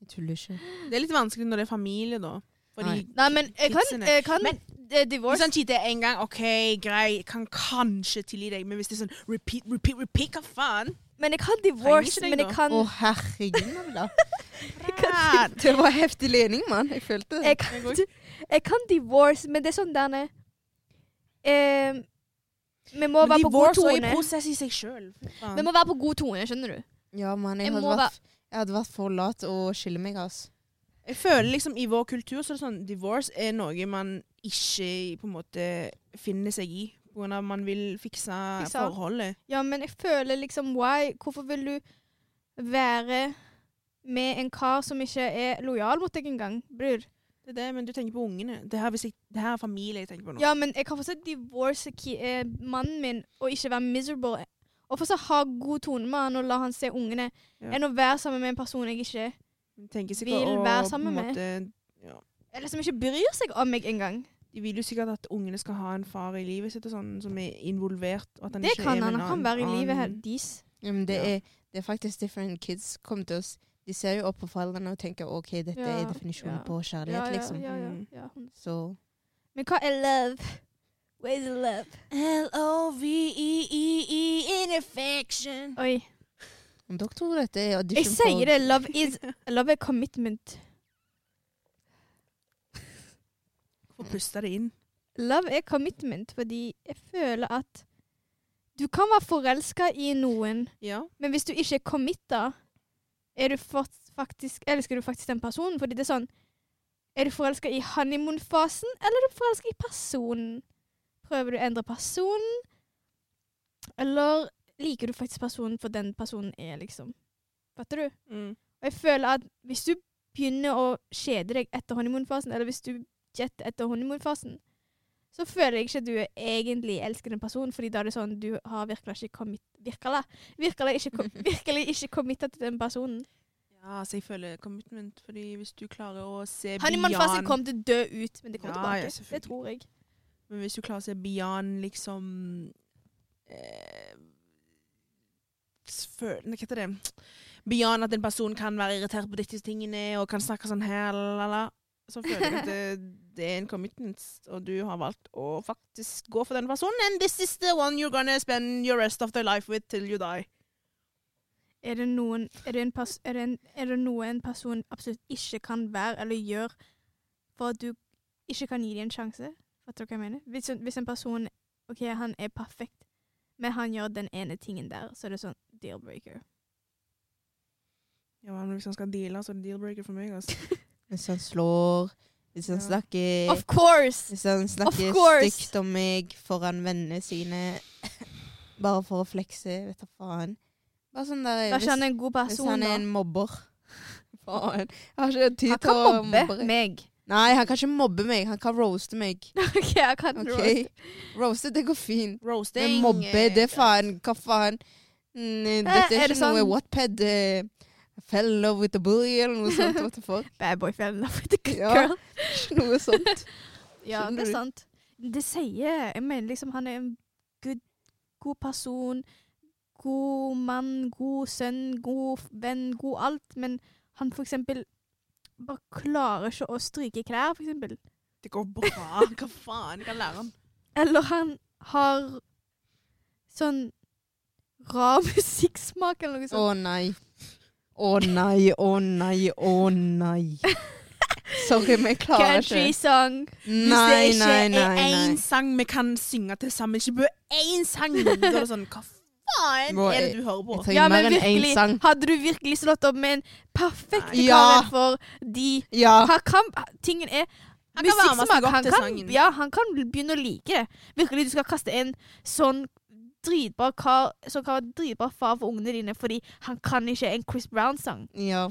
Speaker 2: Jeg tuller ikke.
Speaker 3: Det er litt vanskelig når det er familie, da. Fordi
Speaker 1: Nei, men jeg kan,
Speaker 3: Kidsene.
Speaker 1: jeg kan
Speaker 3: Men-
Speaker 1: eh, divorce
Speaker 3: Hvis han cheater én gang, OK, grei, jeg kan kanskje tilgi deg, men hvis det er sånn repeat, repeat, repeat, hva
Speaker 1: (laughs)
Speaker 3: faen?
Speaker 1: Men jeg kan
Speaker 3: ikke
Speaker 1: divorce,
Speaker 3: deg
Speaker 1: men jeg
Speaker 3: da.
Speaker 1: kan
Speaker 2: Å, herregud,
Speaker 1: (laughs)
Speaker 2: Nabla.
Speaker 1: kan
Speaker 2: Det var heftig lening, mann. Jeg følte det.
Speaker 1: jeg kan, jeg kan divorce, men det er sånn derne eh, Vi må
Speaker 3: Men
Speaker 1: være på god
Speaker 3: divorce er jo
Speaker 1: tone.
Speaker 3: en prosess i seg sjøl.
Speaker 1: Vi må være på god tone, skjønner du?
Speaker 2: Ja, mann. Jeg,
Speaker 1: Jeg
Speaker 2: hadde
Speaker 1: må
Speaker 2: vært- jeg hadde vært for lat å skille meg, ass.
Speaker 3: Jeg føler liksom i vår kultur så er det sånn divorce er noe man ikke på en måte finner seg i. På grunn av man vil fikse,
Speaker 1: Fikse.
Speaker 3: forholdet.
Speaker 1: Ja, men jeg føler liksom Why? Hvorfor vil du være med en kar som ikke er lojal mot deg engang, bror?
Speaker 3: Det er det, men du tenker på ungene. Det her, hvis jeg, det her er familie jeg tenker på nå.
Speaker 1: Ja, men jeg kan fortsatt divorce ki- eh, mannen min og ikke være miserable. Og fortsatt ha god tone med han og la han se ungene,
Speaker 3: Ja.
Speaker 1: enn å være sammen med en person jeg ikke
Speaker 3: De tenker
Speaker 1: Vil
Speaker 3: sikkert å
Speaker 1: være
Speaker 3: på en
Speaker 1: sammen med.
Speaker 3: måte
Speaker 1: Eller som ikke bryr seg om meg engang.
Speaker 3: De vil jo sikkert at ungene skal ha en far i livet sitt og sånn, som er involvert. Og at han
Speaker 1: Det
Speaker 3: ikke
Speaker 1: kan
Speaker 3: er med
Speaker 1: han.
Speaker 3: en
Speaker 1: Han kan
Speaker 3: annen-
Speaker 1: være i livet her.
Speaker 3: annen-
Speaker 1: Dis.
Speaker 2: Ja, men det,
Speaker 3: Ja.
Speaker 2: er, det er faktisk different kids kommer til oss. De ser jo opp på foreldrene og tenker OK, dette er
Speaker 1: Ja,
Speaker 2: definisjonen
Speaker 1: ja.
Speaker 2: på kjærlighet, liksom.
Speaker 1: ja, ja,
Speaker 3: Mm.
Speaker 1: ja.
Speaker 2: Så
Speaker 1: Men hva er love? What is love?
Speaker 2: E
Speaker 3: L-O-V-E-E-E in affection.
Speaker 1: Oi.
Speaker 2: om dere tror dette er audition
Speaker 1: Jeg sier det. Love is Love er commitment.
Speaker 3: Få puste det inn.
Speaker 1: Love er commitment fordi jeg føler at du kan være forelska i noen,
Speaker 3: Ja.
Speaker 1: men hvis du ikke er committa, er du fort- faktisk, elsker du faktisk den personen. Fordi det er sånn Er du forelska i honeymoon-fasen, eller er du forelska i personen? Prøver du å endre personen, eller liker du faktisk personen for den personen er, liksom? Fatter du?
Speaker 3: Mm.
Speaker 1: Og jeg føler at hvis du begynner å kjede deg etter honeymoon-fasen, eller hvis du jetter etter honeymoon-fasen, så føler jeg ikke at du egentlig elsker den personen, fordi da er det sånn du har virkelig ikke commit... Virkelig, virkelig ikke,
Speaker 3: (laughs)
Speaker 1: kom- virkelig ikke committa til den personen.
Speaker 3: Ja, så jeg føler commitment, fordi hvis du klarer å se
Speaker 1: Honeymoon-fasen kom til å dø ut, men det kommer
Speaker 3: Ja, ja,
Speaker 1: tilbake.
Speaker 3: selvfølgelig.
Speaker 1: det tror jeg.
Speaker 3: Men hvis du klarer å se beyond liksom eh, s- føl- Hva heter det? Beyond at en person kan være irritert på disse tingene og kan snakke sånn her, lalala, så føler jeg at (laughs) det, det er en commitment, og du har valgt å faktisk gå for den personen. And this is the one you're gonna spend your rest of their life with till you die.
Speaker 1: Er det, noen, er, det en pers er, det en, er det noe en person absolutt ikke kan være eller gjøre for at du ikke kan gi dem en sjanse? Fatter du hva jeg mener? Hvis, en- hvis en person ok, han er perfekt, men han gjør den ene tingen der, så er det sånn deal-breaker.
Speaker 3: Ja, men Hvis han skal deale, så er det deal-breaker for meg. Altså.
Speaker 2: Hvis han slår, hvis han
Speaker 3: Ja.
Speaker 2: snakker
Speaker 1: Of course!
Speaker 2: Eh, Hvis han snakker
Speaker 1: course.
Speaker 2: stygt om meg foran vennene sine (laughs) bare for å flekse, vet du faen. Bare sånn der
Speaker 1: Da er
Speaker 2: hvis,
Speaker 1: ikke han en god
Speaker 2: hvis
Speaker 1: person,
Speaker 2: han
Speaker 1: da.
Speaker 2: er en mobber. (laughs) Faen. Jeg har ikke tid
Speaker 1: Han
Speaker 2: til
Speaker 1: kan
Speaker 2: å
Speaker 1: mobbe meg. (laughs)
Speaker 2: Nei, han kan ikke mobbe meg. Han kan roaste meg.
Speaker 1: OK, jeg kan
Speaker 2: Ok?
Speaker 1: roast.
Speaker 2: Roaste, det går fint.
Speaker 3: Roasting. eh,
Speaker 2: Men mobbe, det er faen Hva faen? Mm, Dette
Speaker 1: Eh, er
Speaker 2: er
Speaker 1: det
Speaker 2: ikke noe
Speaker 1: sånn-
Speaker 2: Wattpad. eh, I fell in love with a bully eller noe sånt. What the
Speaker 1: (laughs)
Speaker 2: fuck?
Speaker 1: Bad boy fell in love with a good
Speaker 2: Ja.
Speaker 1: girl.
Speaker 2: Ikke noe sånt.
Speaker 1: Ja,
Speaker 2: Skjønner
Speaker 1: det
Speaker 2: du?
Speaker 1: er sant. Det sier Jeg mener liksom han er en good, god person. God mann, god sønn, god f- venn, god alt. Men han for eksempel bare klarer ikke å stryke klær, for eksempel.
Speaker 3: Det går bra. Hva faen? Jeg kan lære han.
Speaker 1: Eller han har sånn rar (laughs) musikksmak eller noe
Speaker 2: Å
Speaker 1: sånt.
Speaker 2: nei. Å nei, å nei, å nei. Sorry, vi klarer ikke.
Speaker 1: Country song.
Speaker 2: Nei,
Speaker 3: Hvis det
Speaker 2: nei,
Speaker 3: ikke
Speaker 2: nei.
Speaker 3: er én
Speaker 2: nei.
Speaker 3: sang vi kan synge til sammen, ikke bare én sang, da er det sånn Hva faen
Speaker 2: Bro,
Speaker 3: er
Speaker 2: jeg-
Speaker 3: det du hører på?
Speaker 2: Jeg trenger
Speaker 1: Ja,
Speaker 2: mer
Speaker 1: men
Speaker 2: enn én
Speaker 1: virkelig.
Speaker 2: sang.
Speaker 1: Hadde du virkelig slått opp med en perfekt
Speaker 2: Nei.
Speaker 1: karen for de
Speaker 2: Ja.
Speaker 1: Han kan, tingen er
Speaker 3: Han kan være med
Speaker 1: Musikksmak.
Speaker 3: seg opp
Speaker 1: Han
Speaker 3: til
Speaker 1: kan,
Speaker 3: sangen.
Speaker 1: ja, han kan begynne å like det. Virkelig, du skal kaste en sånn dritbra kar som kan være dritbra far for ungene dine, fordi han kan ikke en Chris Brown-sang.
Speaker 2: ja.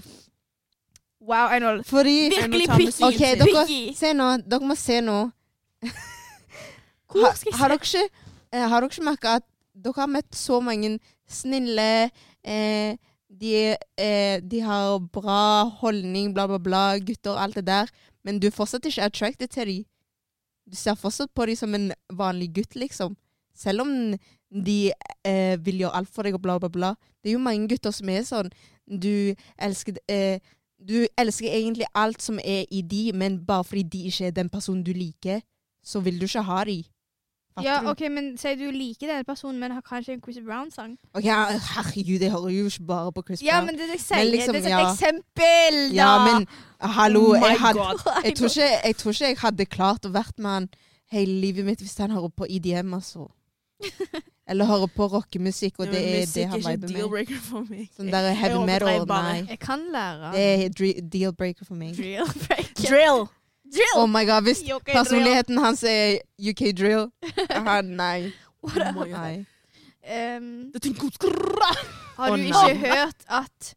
Speaker 1: Wow, I know.
Speaker 2: Fordi
Speaker 1: Virkelig
Speaker 3: ta
Speaker 1: picky.
Speaker 3: musikken
Speaker 2: OK,
Speaker 3: til.
Speaker 2: dere,
Speaker 1: Picky.
Speaker 2: se nå, dere må se nå.
Speaker 1: Hvor
Speaker 2: Ha-
Speaker 1: skal jeg
Speaker 2: Har
Speaker 1: se?
Speaker 2: dere ikke, eh, har dere ikke merka at dere har møtt så mange snille eh, de, eh, de har bra holdning, bla, bla, bla, gutter, alt det der. Men du er fortsatt ikke attracted til dem. Du ser fortsatt på dem som en vanlig gutt, liksom. Selv om de eh, vil gjøre alt for deg og bla, bla, bla. Det er jo mange gutter som er sånn. Du elsker eh, Du elsker egentlig alt som er i de, men bare fordi de ikke er den personen du liker, så vil du ikke ha de. Fatter
Speaker 1: Ja,
Speaker 2: du?
Speaker 1: ok, men Sier du liker denne personen, men har kanskje en Chris Brown-sang?
Speaker 2: Ok, herregud, jeg hører jo ikke bare på Chris
Speaker 1: Ja,
Speaker 2: Brown.
Speaker 1: men det er det jeg sier.
Speaker 2: Men liksom,
Speaker 1: det er et
Speaker 2: ja.
Speaker 1: eksempel, da!
Speaker 2: Ja, men hallo,
Speaker 3: Oh my
Speaker 2: jeg, had,
Speaker 3: God.
Speaker 2: jeg,
Speaker 1: (laughs)
Speaker 2: tror ikke, jeg tror ikke jeg hadde klart å vært med han hele livet mitt hvis han hører på IDM, altså.
Speaker 3: (laughs)
Speaker 2: Eller hører på rockemusikk, og det
Speaker 3: Men
Speaker 2: er det han
Speaker 3: Musikk er
Speaker 2: viber
Speaker 3: ikke
Speaker 2: med.
Speaker 3: deal-breaker for meg.
Speaker 2: Sånn der heavy
Speaker 3: Jeg
Speaker 2: metal,
Speaker 3: overdrev bare.
Speaker 2: nei.
Speaker 1: Jeg kan lære.
Speaker 2: Det er dre- deal breaker for meg.
Speaker 1: Drill
Speaker 2: (laughs)
Speaker 1: breaker.
Speaker 3: Drill!
Speaker 1: Drill!
Speaker 2: Oh my
Speaker 3: (laughs)
Speaker 2: god, hvis
Speaker 1: Yokai drill.
Speaker 2: personligheten hans er UK drill, ah, nei.
Speaker 1: Oh (laughs)
Speaker 2: nei.
Speaker 1: Ehm,
Speaker 3: Det tenker jeg skrrra.
Speaker 1: Har
Speaker 2: Å,
Speaker 1: du
Speaker 2: nei.
Speaker 1: ikke hørt at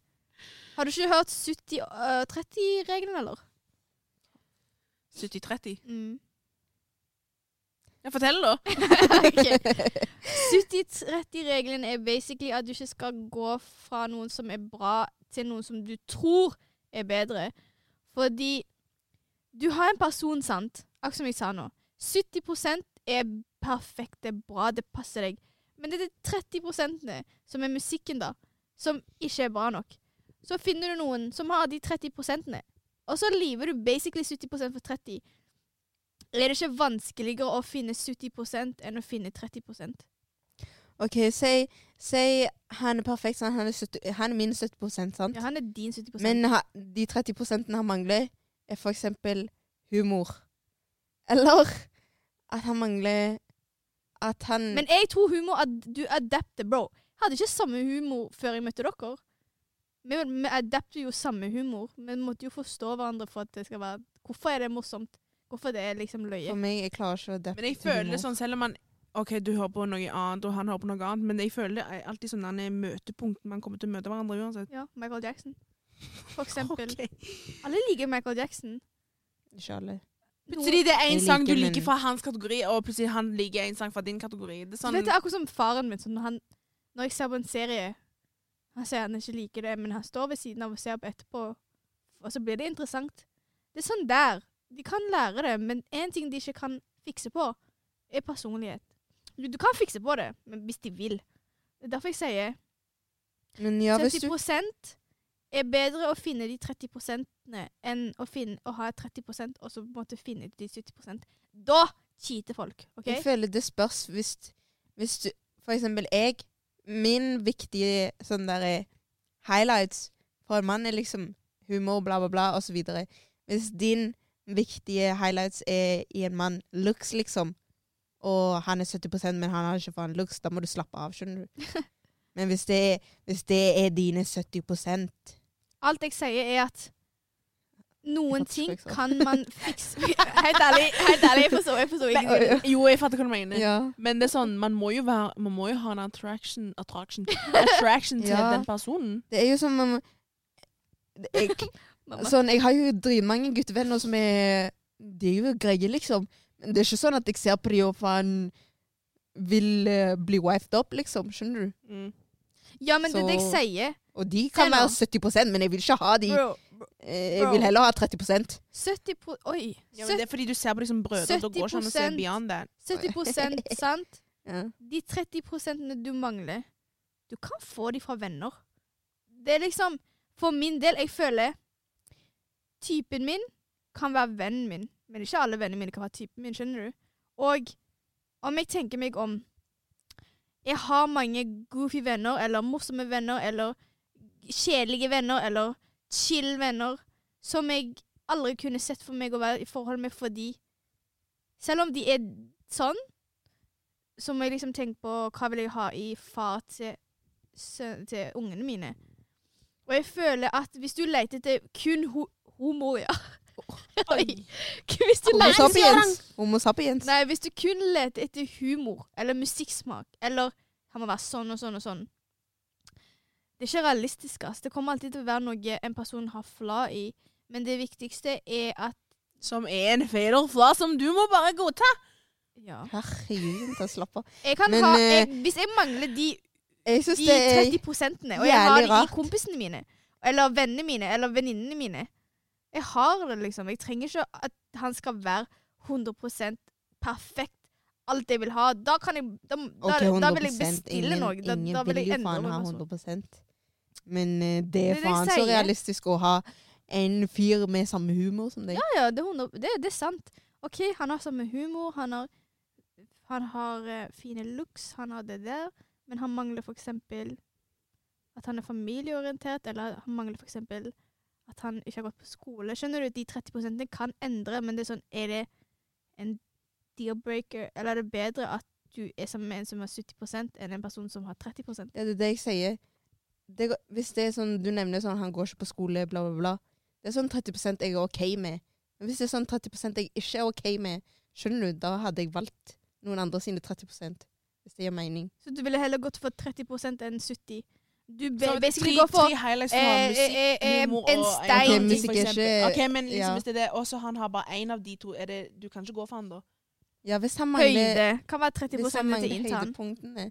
Speaker 1: Har du ikke hørt 70-30-regelen, eller?
Speaker 3: 70-30. Ja, fortell, da.
Speaker 1: (laughs) Ok. 70-30-regelen er basically at du ikke skal gå fra noen som er bra, til noen som du tror er bedre. Fordi du har en person, sant? Akkurat som jeg sa nå. 70 er perfekt, det er bra, det passer deg. Men det er de 30 som er musikken, da, som ikke er bra nok. Så finner du noen som har de 30 og så lever du basically 70 for 30 er det ikke vanskeligere å finne 70 enn å finne 30
Speaker 2: Ok, si, si han er perfekt, sånn, han er, 70, han er min 70
Speaker 3: Mm.
Speaker 2: sant?
Speaker 1: Ja, han er din 70
Speaker 2: Men ha, de 30 han mangler, er for eksempel humor. Eller at han mangler At han
Speaker 3: mm.
Speaker 1: Men jeg tror humor at du adapter, bro. Jeg hadde ikke samme humor før jeg møtte dere. Vi, vi adapter jo samme humor, men måtte jo forstå hverandre for at det skal være Hvorfor er det morsomt? Hvorfor det er liksom løye?
Speaker 2: For meg, jeg klarer ikke å adapte
Speaker 3: Men jeg føler sånn, selv om man OK, du hører på noe annet, og han hører på noe annet, men jeg føler det er alltid sånn der møtepunkt man kommer til å møte hverandre uansett.
Speaker 1: Ja, Michael Jackson. For eksempel.
Speaker 3: (laughs) Ok.
Speaker 1: Alle liker Michael Jackson.
Speaker 2: Ikke alle.
Speaker 3: Plutselig det er en
Speaker 2: Jeg
Speaker 3: sang du
Speaker 2: liker, men-
Speaker 3: liker fra hans kategori, og plutselig han liker en sang fra din kategori.
Speaker 1: Du
Speaker 3: Det er sånn,
Speaker 1: vet, det er akkurat som faren min. Sånn, når, han, når jeg ser på en serie Han sier han ikke liker det, men han står ved siden av og ser på etterpå. Og så blir det interessant. Det er sånn der. De kan lære det, men én ting de ikke kan fikse på, er personlighet. Du, du kan fikse på det, men hvis de vil. Det er derfor jeg sier
Speaker 2: Men ja, hvis du
Speaker 1: 70 er bedre å finne de 30 enn å, finne, å ha 30 og så på en måte finne de 70 Da cheater folk. ok?
Speaker 2: Jeg føler det spørs hvis, hvis du For eksempel jeg Min viktige sånn der highlights for en mann er liksom humor, bla, bla, bla, osv. Hvis din viktige highlights er i en mann looks, liksom, og han er 70 men han har ikke faen looks, da må du slappe av, skjønner du. Men hvis det er, hvis det er dine 70
Speaker 1: Alt jeg sier, er at
Speaker 2: Jeg
Speaker 1: noen
Speaker 2: forstår
Speaker 1: ting
Speaker 2: ikke så.
Speaker 1: kan man fikse (laughs) Helt ærlig, helt ærlig jeg forstår, jeg forstår ikke.
Speaker 3: Jo, jeg fatter hva du mener.
Speaker 2: Ja.
Speaker 3: Men det er sånn, man må jo, være, man må jo ha en attraction, (laughs) attraction, attraction til
Speaker 2: Ja.
Speaker 3: den personen.
Speaker 2: Det er jo som om eh, jeg,
Speaker 1: Mamma.
Speaker 2: Sånn, jeg har jo dritmange guttevenner som er De er jo greie, liksom. Men det er ikke sånn at jeg ser på de og faen vil eh, bli wifed up, liksom. Skjønner du?
Speaker 3: Mm.
Speaker 1: Ja, men det er det jeg
Speaker 2: Så-
Speaker 1: sier.
Speaker 2: Og de kan
Speaker 1: Se nå.
Speaker 2: være 70 men jeg vil ikke ha de.
Speaker 1: Bro,
Speaker 2: Eh, Jeg
Speaker 1: bro.
Speaker 2: vil heller ha 30
Speaker 1: 70 pro Oi.
Speaker 3: Ja, men det er fordi du ser på liksom brødre, da går det ikke an å se
Speaker 1: 70%
Speaker 3: beyond that.
Speaker 1: (laughs) 70 sant?
Speaker 2: ja.
Speaker 1: De 30 du mangler, du kan få de fra venner. Det er liksom For min del, jeg føler Typen min kan være vennen min, men ikke alle vennene mine kan være typen min, skjønner du? Og om jeg tenker meg om Jeg har mange goofy venner, eller morsomme venner, eller kjedelige venner, eller chill venner, som jeg aldri kunne sett for meg å være i forhold med fordi Selv om de er sånn, så må jeg liksom tenke på hva vil jeg ha i far til, sø- til ungene mine. Og jeg føler at hvis du leter etter kun ho homo, ja. (laughs) Oi. Hvis du
Speaker 2: Homo
Speaker 1: leter
Speaker 2: sapiens. Homo sapiens.
Speaker 1: Nei, hvis du kun leter etter humor eller musikksmak, eller han må være sånn og sånn og sånn Det er ikke realistisk, ass. Det kommer alltid til å være noe en person har fla i, men det viktigste er at
Speaker 3: Som er en fatal flaw som du må bare godta.
Speaker 1: Ja.
Speaker 2: Herregud, ta slapp
Speaker 1: (laughs)
Speaker 2: av.
Speaker 1: Jeg kan
Speaker 2: Men,
Speaker 1: ha
Speaker 2: eh,
Speaker 1: jeg, Hvis jeg mangler de,
Speaker 2: Jeg syns
Speaker 1: de
Speaker 2: det er
Speaker 1: 30 prosentene, og jeg har
Speaker 2: jævlig
Speaker 1: de i
Speaker 2: rart.
Speaker 1: kompisene mine, eller vennene mine, eller venninnene mine Jeg har det, liksom. Jeg trenger ikke at han skal være 100 perfekt. Alt jeg vil ha. Da kan jeg Da,
Speaker 2: OK,
Speaker 1: da,
Speaker 2: 100
Speaker 1: da vil jeg bestille
Speaker 2: ingen,
Speaker 1: noe. Da,
Speaker 2: ingen
Speaker 1: da vil
Speaker 2: vil
Speaker 1: jeg
Speaker 2: jo
Speaker 1: endre
Speaker 2: faen
Speaker 1: meg.
Speaker 2: ha
Speaker 1: og sånn.
Speaker 2: 100 Men eh, det
Speaker 1: Det er det
Speaker 2: er
Speaker 1: jeg
Speaker 2: faen så
Speaker 1: sier.
Speaker 2: realistisk å ha en fyr med samme humor som deg.
Speaker 1: Ja, ja, det er, 100 det, det er sant. OK, han har samme humor, han har, han har eh, fine looks, han har det der, men han mangler for eksempel at han er familieorientert, eller han mangler for eksempel at han ikke har gått på skole. Skjønner du? De 30 kan endre, men det er sånn Er det en deal-breaker, eller er det bedre at du er sammen med en som har 70 enn en person som har 30
Speaker 2: Ja, det er det jeg sier. Det, går- hvis det er sånn, du nevner sånn, han går ikke på skole, bla, bla, bla. Det er sånn 30 jeg er ok med. Men hvis det er sånn 30 jeg ikke er ok med, skjønner du, da hadde jeg valgt noen andre sine 30 hvis det gir mening.
Speaker 1: Så du ville heller gått for 30 enn 70 Du
Speaker 3: Så
Speaker 1: be-
Speaker 3: det er
Speaker 1: basically
Speaker 3: tre-
Speaker 1: går for
Speaker 3: tre highlights som har
Speaker 1: Eh,
Speaker 3: musikk,
Speaker 1: eh, eh,
Speaker 3: humor og
Speaker 1: en stein.
Speaker 2: Ok, musikk er
Speaker 3: for eksempel.
Speaker 2: ikke-
Speaker 3: Ok, men liksom,
Speaker 2: ja.
Speaker 3: hvis det er det, også han har bare én av de to, er det, du kan ikke gå for han da.
Speaker 2: Ja, hvis han mangler,
Speaker 1: høyde. Kan være 30
Speaker 2: hvis han
Speaker 1: til
Speaker 2: mangler
Speaker 1: intern.
Speaker 2: høydepunktene. Ja,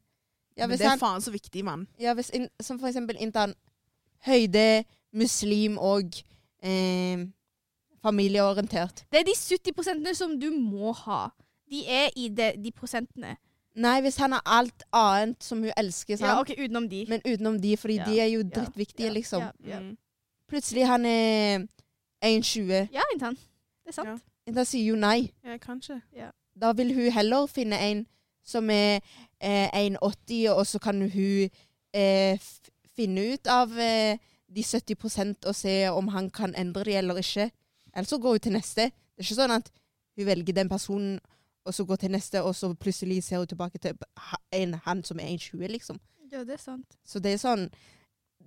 Speaker 3: Ja,
Speaker 2: hvis
Speaker 3: det er
Speaker 2: han,
Speaker 3: faen så viktig, mann.
Speaker 2: ja, hvis in, som for eksempel intern høyde, muslim og eh, familieorientert.
Speaker 1: Det er de 70 som du må ha. De er i de, de prosentene.
Speaker 2: Nei, hvis han har alt annet som hun elsker, sant?
Speaker 1: Ja, ok, Utenom de.
Speaker 2: Men utenom de, fordi
Speaker 1: Ja,
Speaker 2: de er jo
Speaker 1: ja,
Speaker 2: drittviktige,
Speaker 1: ja,
Speaker 2: liksom.
Speaker 1: Ja, ja.
Speaker 3: Mm.
Speaker 2: Plutselig han er 1,20.
Speaker 1: ja intern. Det er sant.
Speaker 3: Ja.
Speaker 2: Da sier hun nei.
Speaker 3: Ja, kanskje.
Speaker 2: Da vil hun heller finne en som er eh, 1,80, og så kan hun eh, f- finne ut av eh, de 70 og se om han kan endre de eller ikke. Eller så går hun til neste. Det er ikke sånn at hun velger den personen, og så går til neste, og så plutselig ser hun tilbake til ha- en han som er 1,20, liksom.
Speaker 1: Ja, det er sant.
Speaker 2: Så det er sånn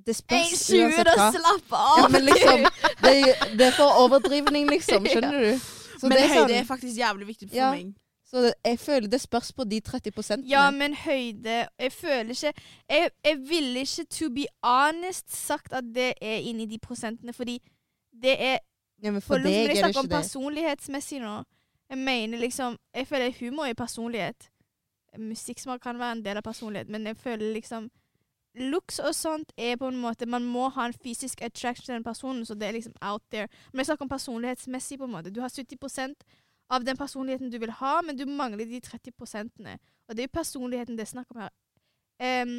Speaker 2: Det spørs
Speaker 1: 1,20,
Speaker 2: uansett
Speaker 1: da
Speaker 2: hva.
Speaker 1: slapp av!
Speaker 2: Ja, men liksom, det, er jo- det er for overdrivning, liksom. Skjønner du? Så,
Speaker 3: men
Speaker 2: det er
Speaker 3: høyde
Speaker 2: sånn,
Speaker 3: er faktisk jævlig viktig for
Speaker 2: Ja.
Speaker 3: meg.
Speaker 2: så det- jeg føler det spørs på de 30
Speaker 1: (laughs) Ja, men høyde Jeg føler ikke Jeg, jeg ville ikke, to be honest, sagt at det er inni de prosentene, fordi det er
Speaker 2: Ja, men for
Speaker 1: For nå
Speaker 2: deg
Speaker 1: når jeg
Speaker 2: er det
Speaker 1: snakker
Speaker 2: ikke
Speaker 1: om
Speaker 2: det.
Speaker 1: personlighetsmessig nå, jeg mener liksom Jeg føler humor er personlighet. Musikksmak kan være en del av personlighet, men jeg føler liksom Looks og sånt er på en måte Man må ha en fysisk attraction til den personen, så det er liksom out there. Men jeg snakker om personlighetsmessig, på en måte. Du har 70 av den personligheten du vil ha, men du mangler de 30 prosentene. Og det er jo personligheten det er snakk om her. Em,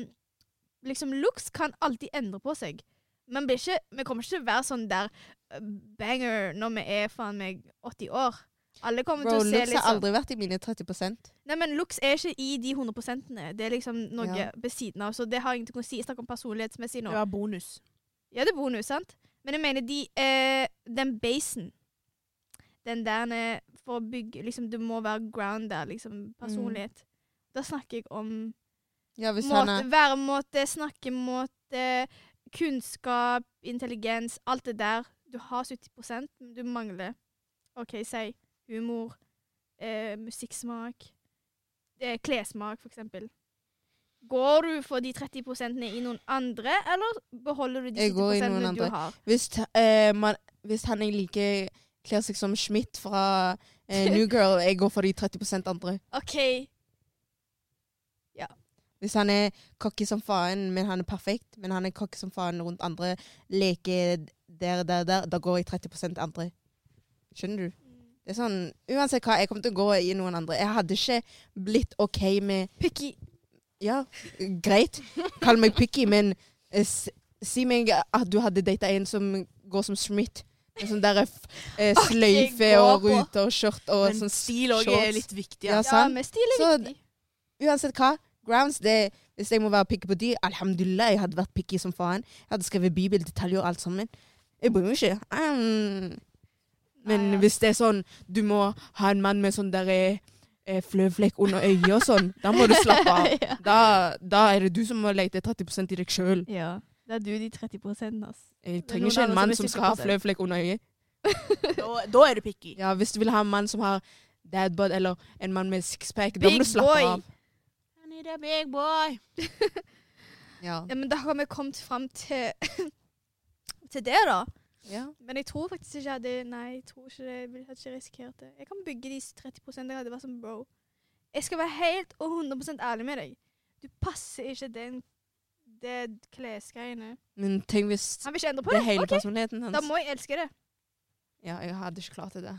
Speaker 1: liksom, looks kan alltid endre på seg. Men blir ikke, vi kommer ikke til å være sånn der eh, banger når vi er faen meg 80 år. Alle kommer
Speaker 2: Bro,
Speaker 1: til å se
Speaker 2: looks har
Speaker 1: liksom
Speaker 2: aldri vært i mine 30
Speaker 1: Nei, men looks er ikke i de 100 Det er liksom noe
Speaker 2: Ja.
Speaker 1: ved siden av. Så det har ingenting å si. Jeg snakker om personlighetsmessig nå.
Speaker 3: Det
Speaker 1: Ja,
Speaker 3: var bonus.
Speaker 1: det er bonus, sant? Men jeg mener de eh, Den basen. Den der eh, for å bygge liksom, Du må være ground der,
Speaker 2: Mm.
Speaker 1: liksom. Personlighet. Da snakker jeg om
Speaker 2: Ja, hvis han
Speaker 1: måte,
Speaker 2: er
Speaker 1: væremåte, snakkemåte, kunnskap, intelligens, alt det der. Du har 70 men du mangler OK, si humor, eh, musikksmak, eh, klessmak, for eksempel. Går du for de 30 i noen andre, eller beholder du de
Speaker 2: Jeg går i
Speaker 1: 70
Speaker 2: noen
Speaker 1: du
Speaker 2: andre.
Speaker 1: har?
Speaker 2: Hvis, t- eh, man, hvis han jeg liker, kler seg som Schmidt fra eh, New Girl, jeg går for de 30 andre.
Speaker 1: OK,
Speaker 2: Hvis han er cocky som faen, men han er perfekt, men han er cocky som faen rundt andre, leker der, der, der, da går jeg 30 andre. Skjønner du?
Speaker 3: Mm.
Speaker 2: Det er sånn, Uansett hva, jeg kommer til å gå i noen andre. Jeg hadde ikke blitt OK med
Speaker 1: picky.
Speaker 2: Ja, greit, kall meg picky, men eh, s si meg at du hadde data en som går som Schmidt. En sånn derre f- eh, sløyfe
Speaker 1: gå
Speaker 2: og
Speaker 1: på.
Speaker 2: ruter og skjørt og
Speaker 3: Men
Speaker 2: sånn
Speaker 3: stil òg
Speaker 2: shorts.
Speaker 3: er litt viktig.
Speaker 2: Ja,
Speaker 3: Ja.
Speaker 1: Ja,
Speaker 2: sant?
Speaker 1: men stil er
Speaker 2: Så-
Speaker 1: viktig.
Speaker 2: uansett hva, grounds det Hvis jeg må være picky på de, alhamdulillah, jeg hadde vært picky som faen. Jeg hadde skrevet bibeldetaljer og alt sammen. Jeg bryr meg ikke. Mm. Men
Speaker 1: Nei, ja.
Speaker 2: hvis det er sånn, du må ha en mann med sånn der eh, fløflekk under øyet og sånn, da
Speaker 1: (laughs)
Speaker 2: må du slappe av.
Speaker 1: ja.
Speaker 2: Da, da er det du som må lete 30 i deg sjøl.
Speaker 1: ja. Det er du de 30 altså.
Speaker 2: Jeg
Speaker 1: Det er
Speaker 2: trenger
Speaker 1: noen
Speaker 2: ikke
Speaker 1: andre
Speaker 2: en mann
Speaker 1: som
Speaker 2: som
Speaker 1: er
Speaker 2: skal ha
Speaker 1: 70%.
Speaker 2: fløflekk under øyet.
Speaker 3: Da, da er du picky.
Speaker 2: Ja, hvis du vil ha en mann som har dad bod, eller en mann med sixpack, da
Speaker 1: Big
Speaker 2: må du slappe
Speaker 1: boy.
Speaker 2: av.
Speaker 3: I need a big boy.
Speaker 2: Ja.
Speaker 1: Ja, men da har vi kommet fram til, (laughs) til det, da.
Speaker 2: ja.
Speaker 1: Men jeg tror faktisk ikke jeg hadde Nei, jeg tror ikke det. Jeg ville- hadde ikke risikert det. Jeg kan bygge de 30 jeg hadde vært som bro. Jeg skal være helt og 100 ærlig med deg. Du passer ikke den det klesgreiene.
Speaker 2: Men tenk hvis
Speaker 1: Han vil ikke endre på
Speaker 2: det er
Speaker 1: det.
Speaker 2: hele
Speaker 1: Ok,
Speaker 2: personligheten hans.
Speaker 1: Da må jeg elske det. (laughs)
Speaker 2: Ja, jeg hadde ikke klart det der.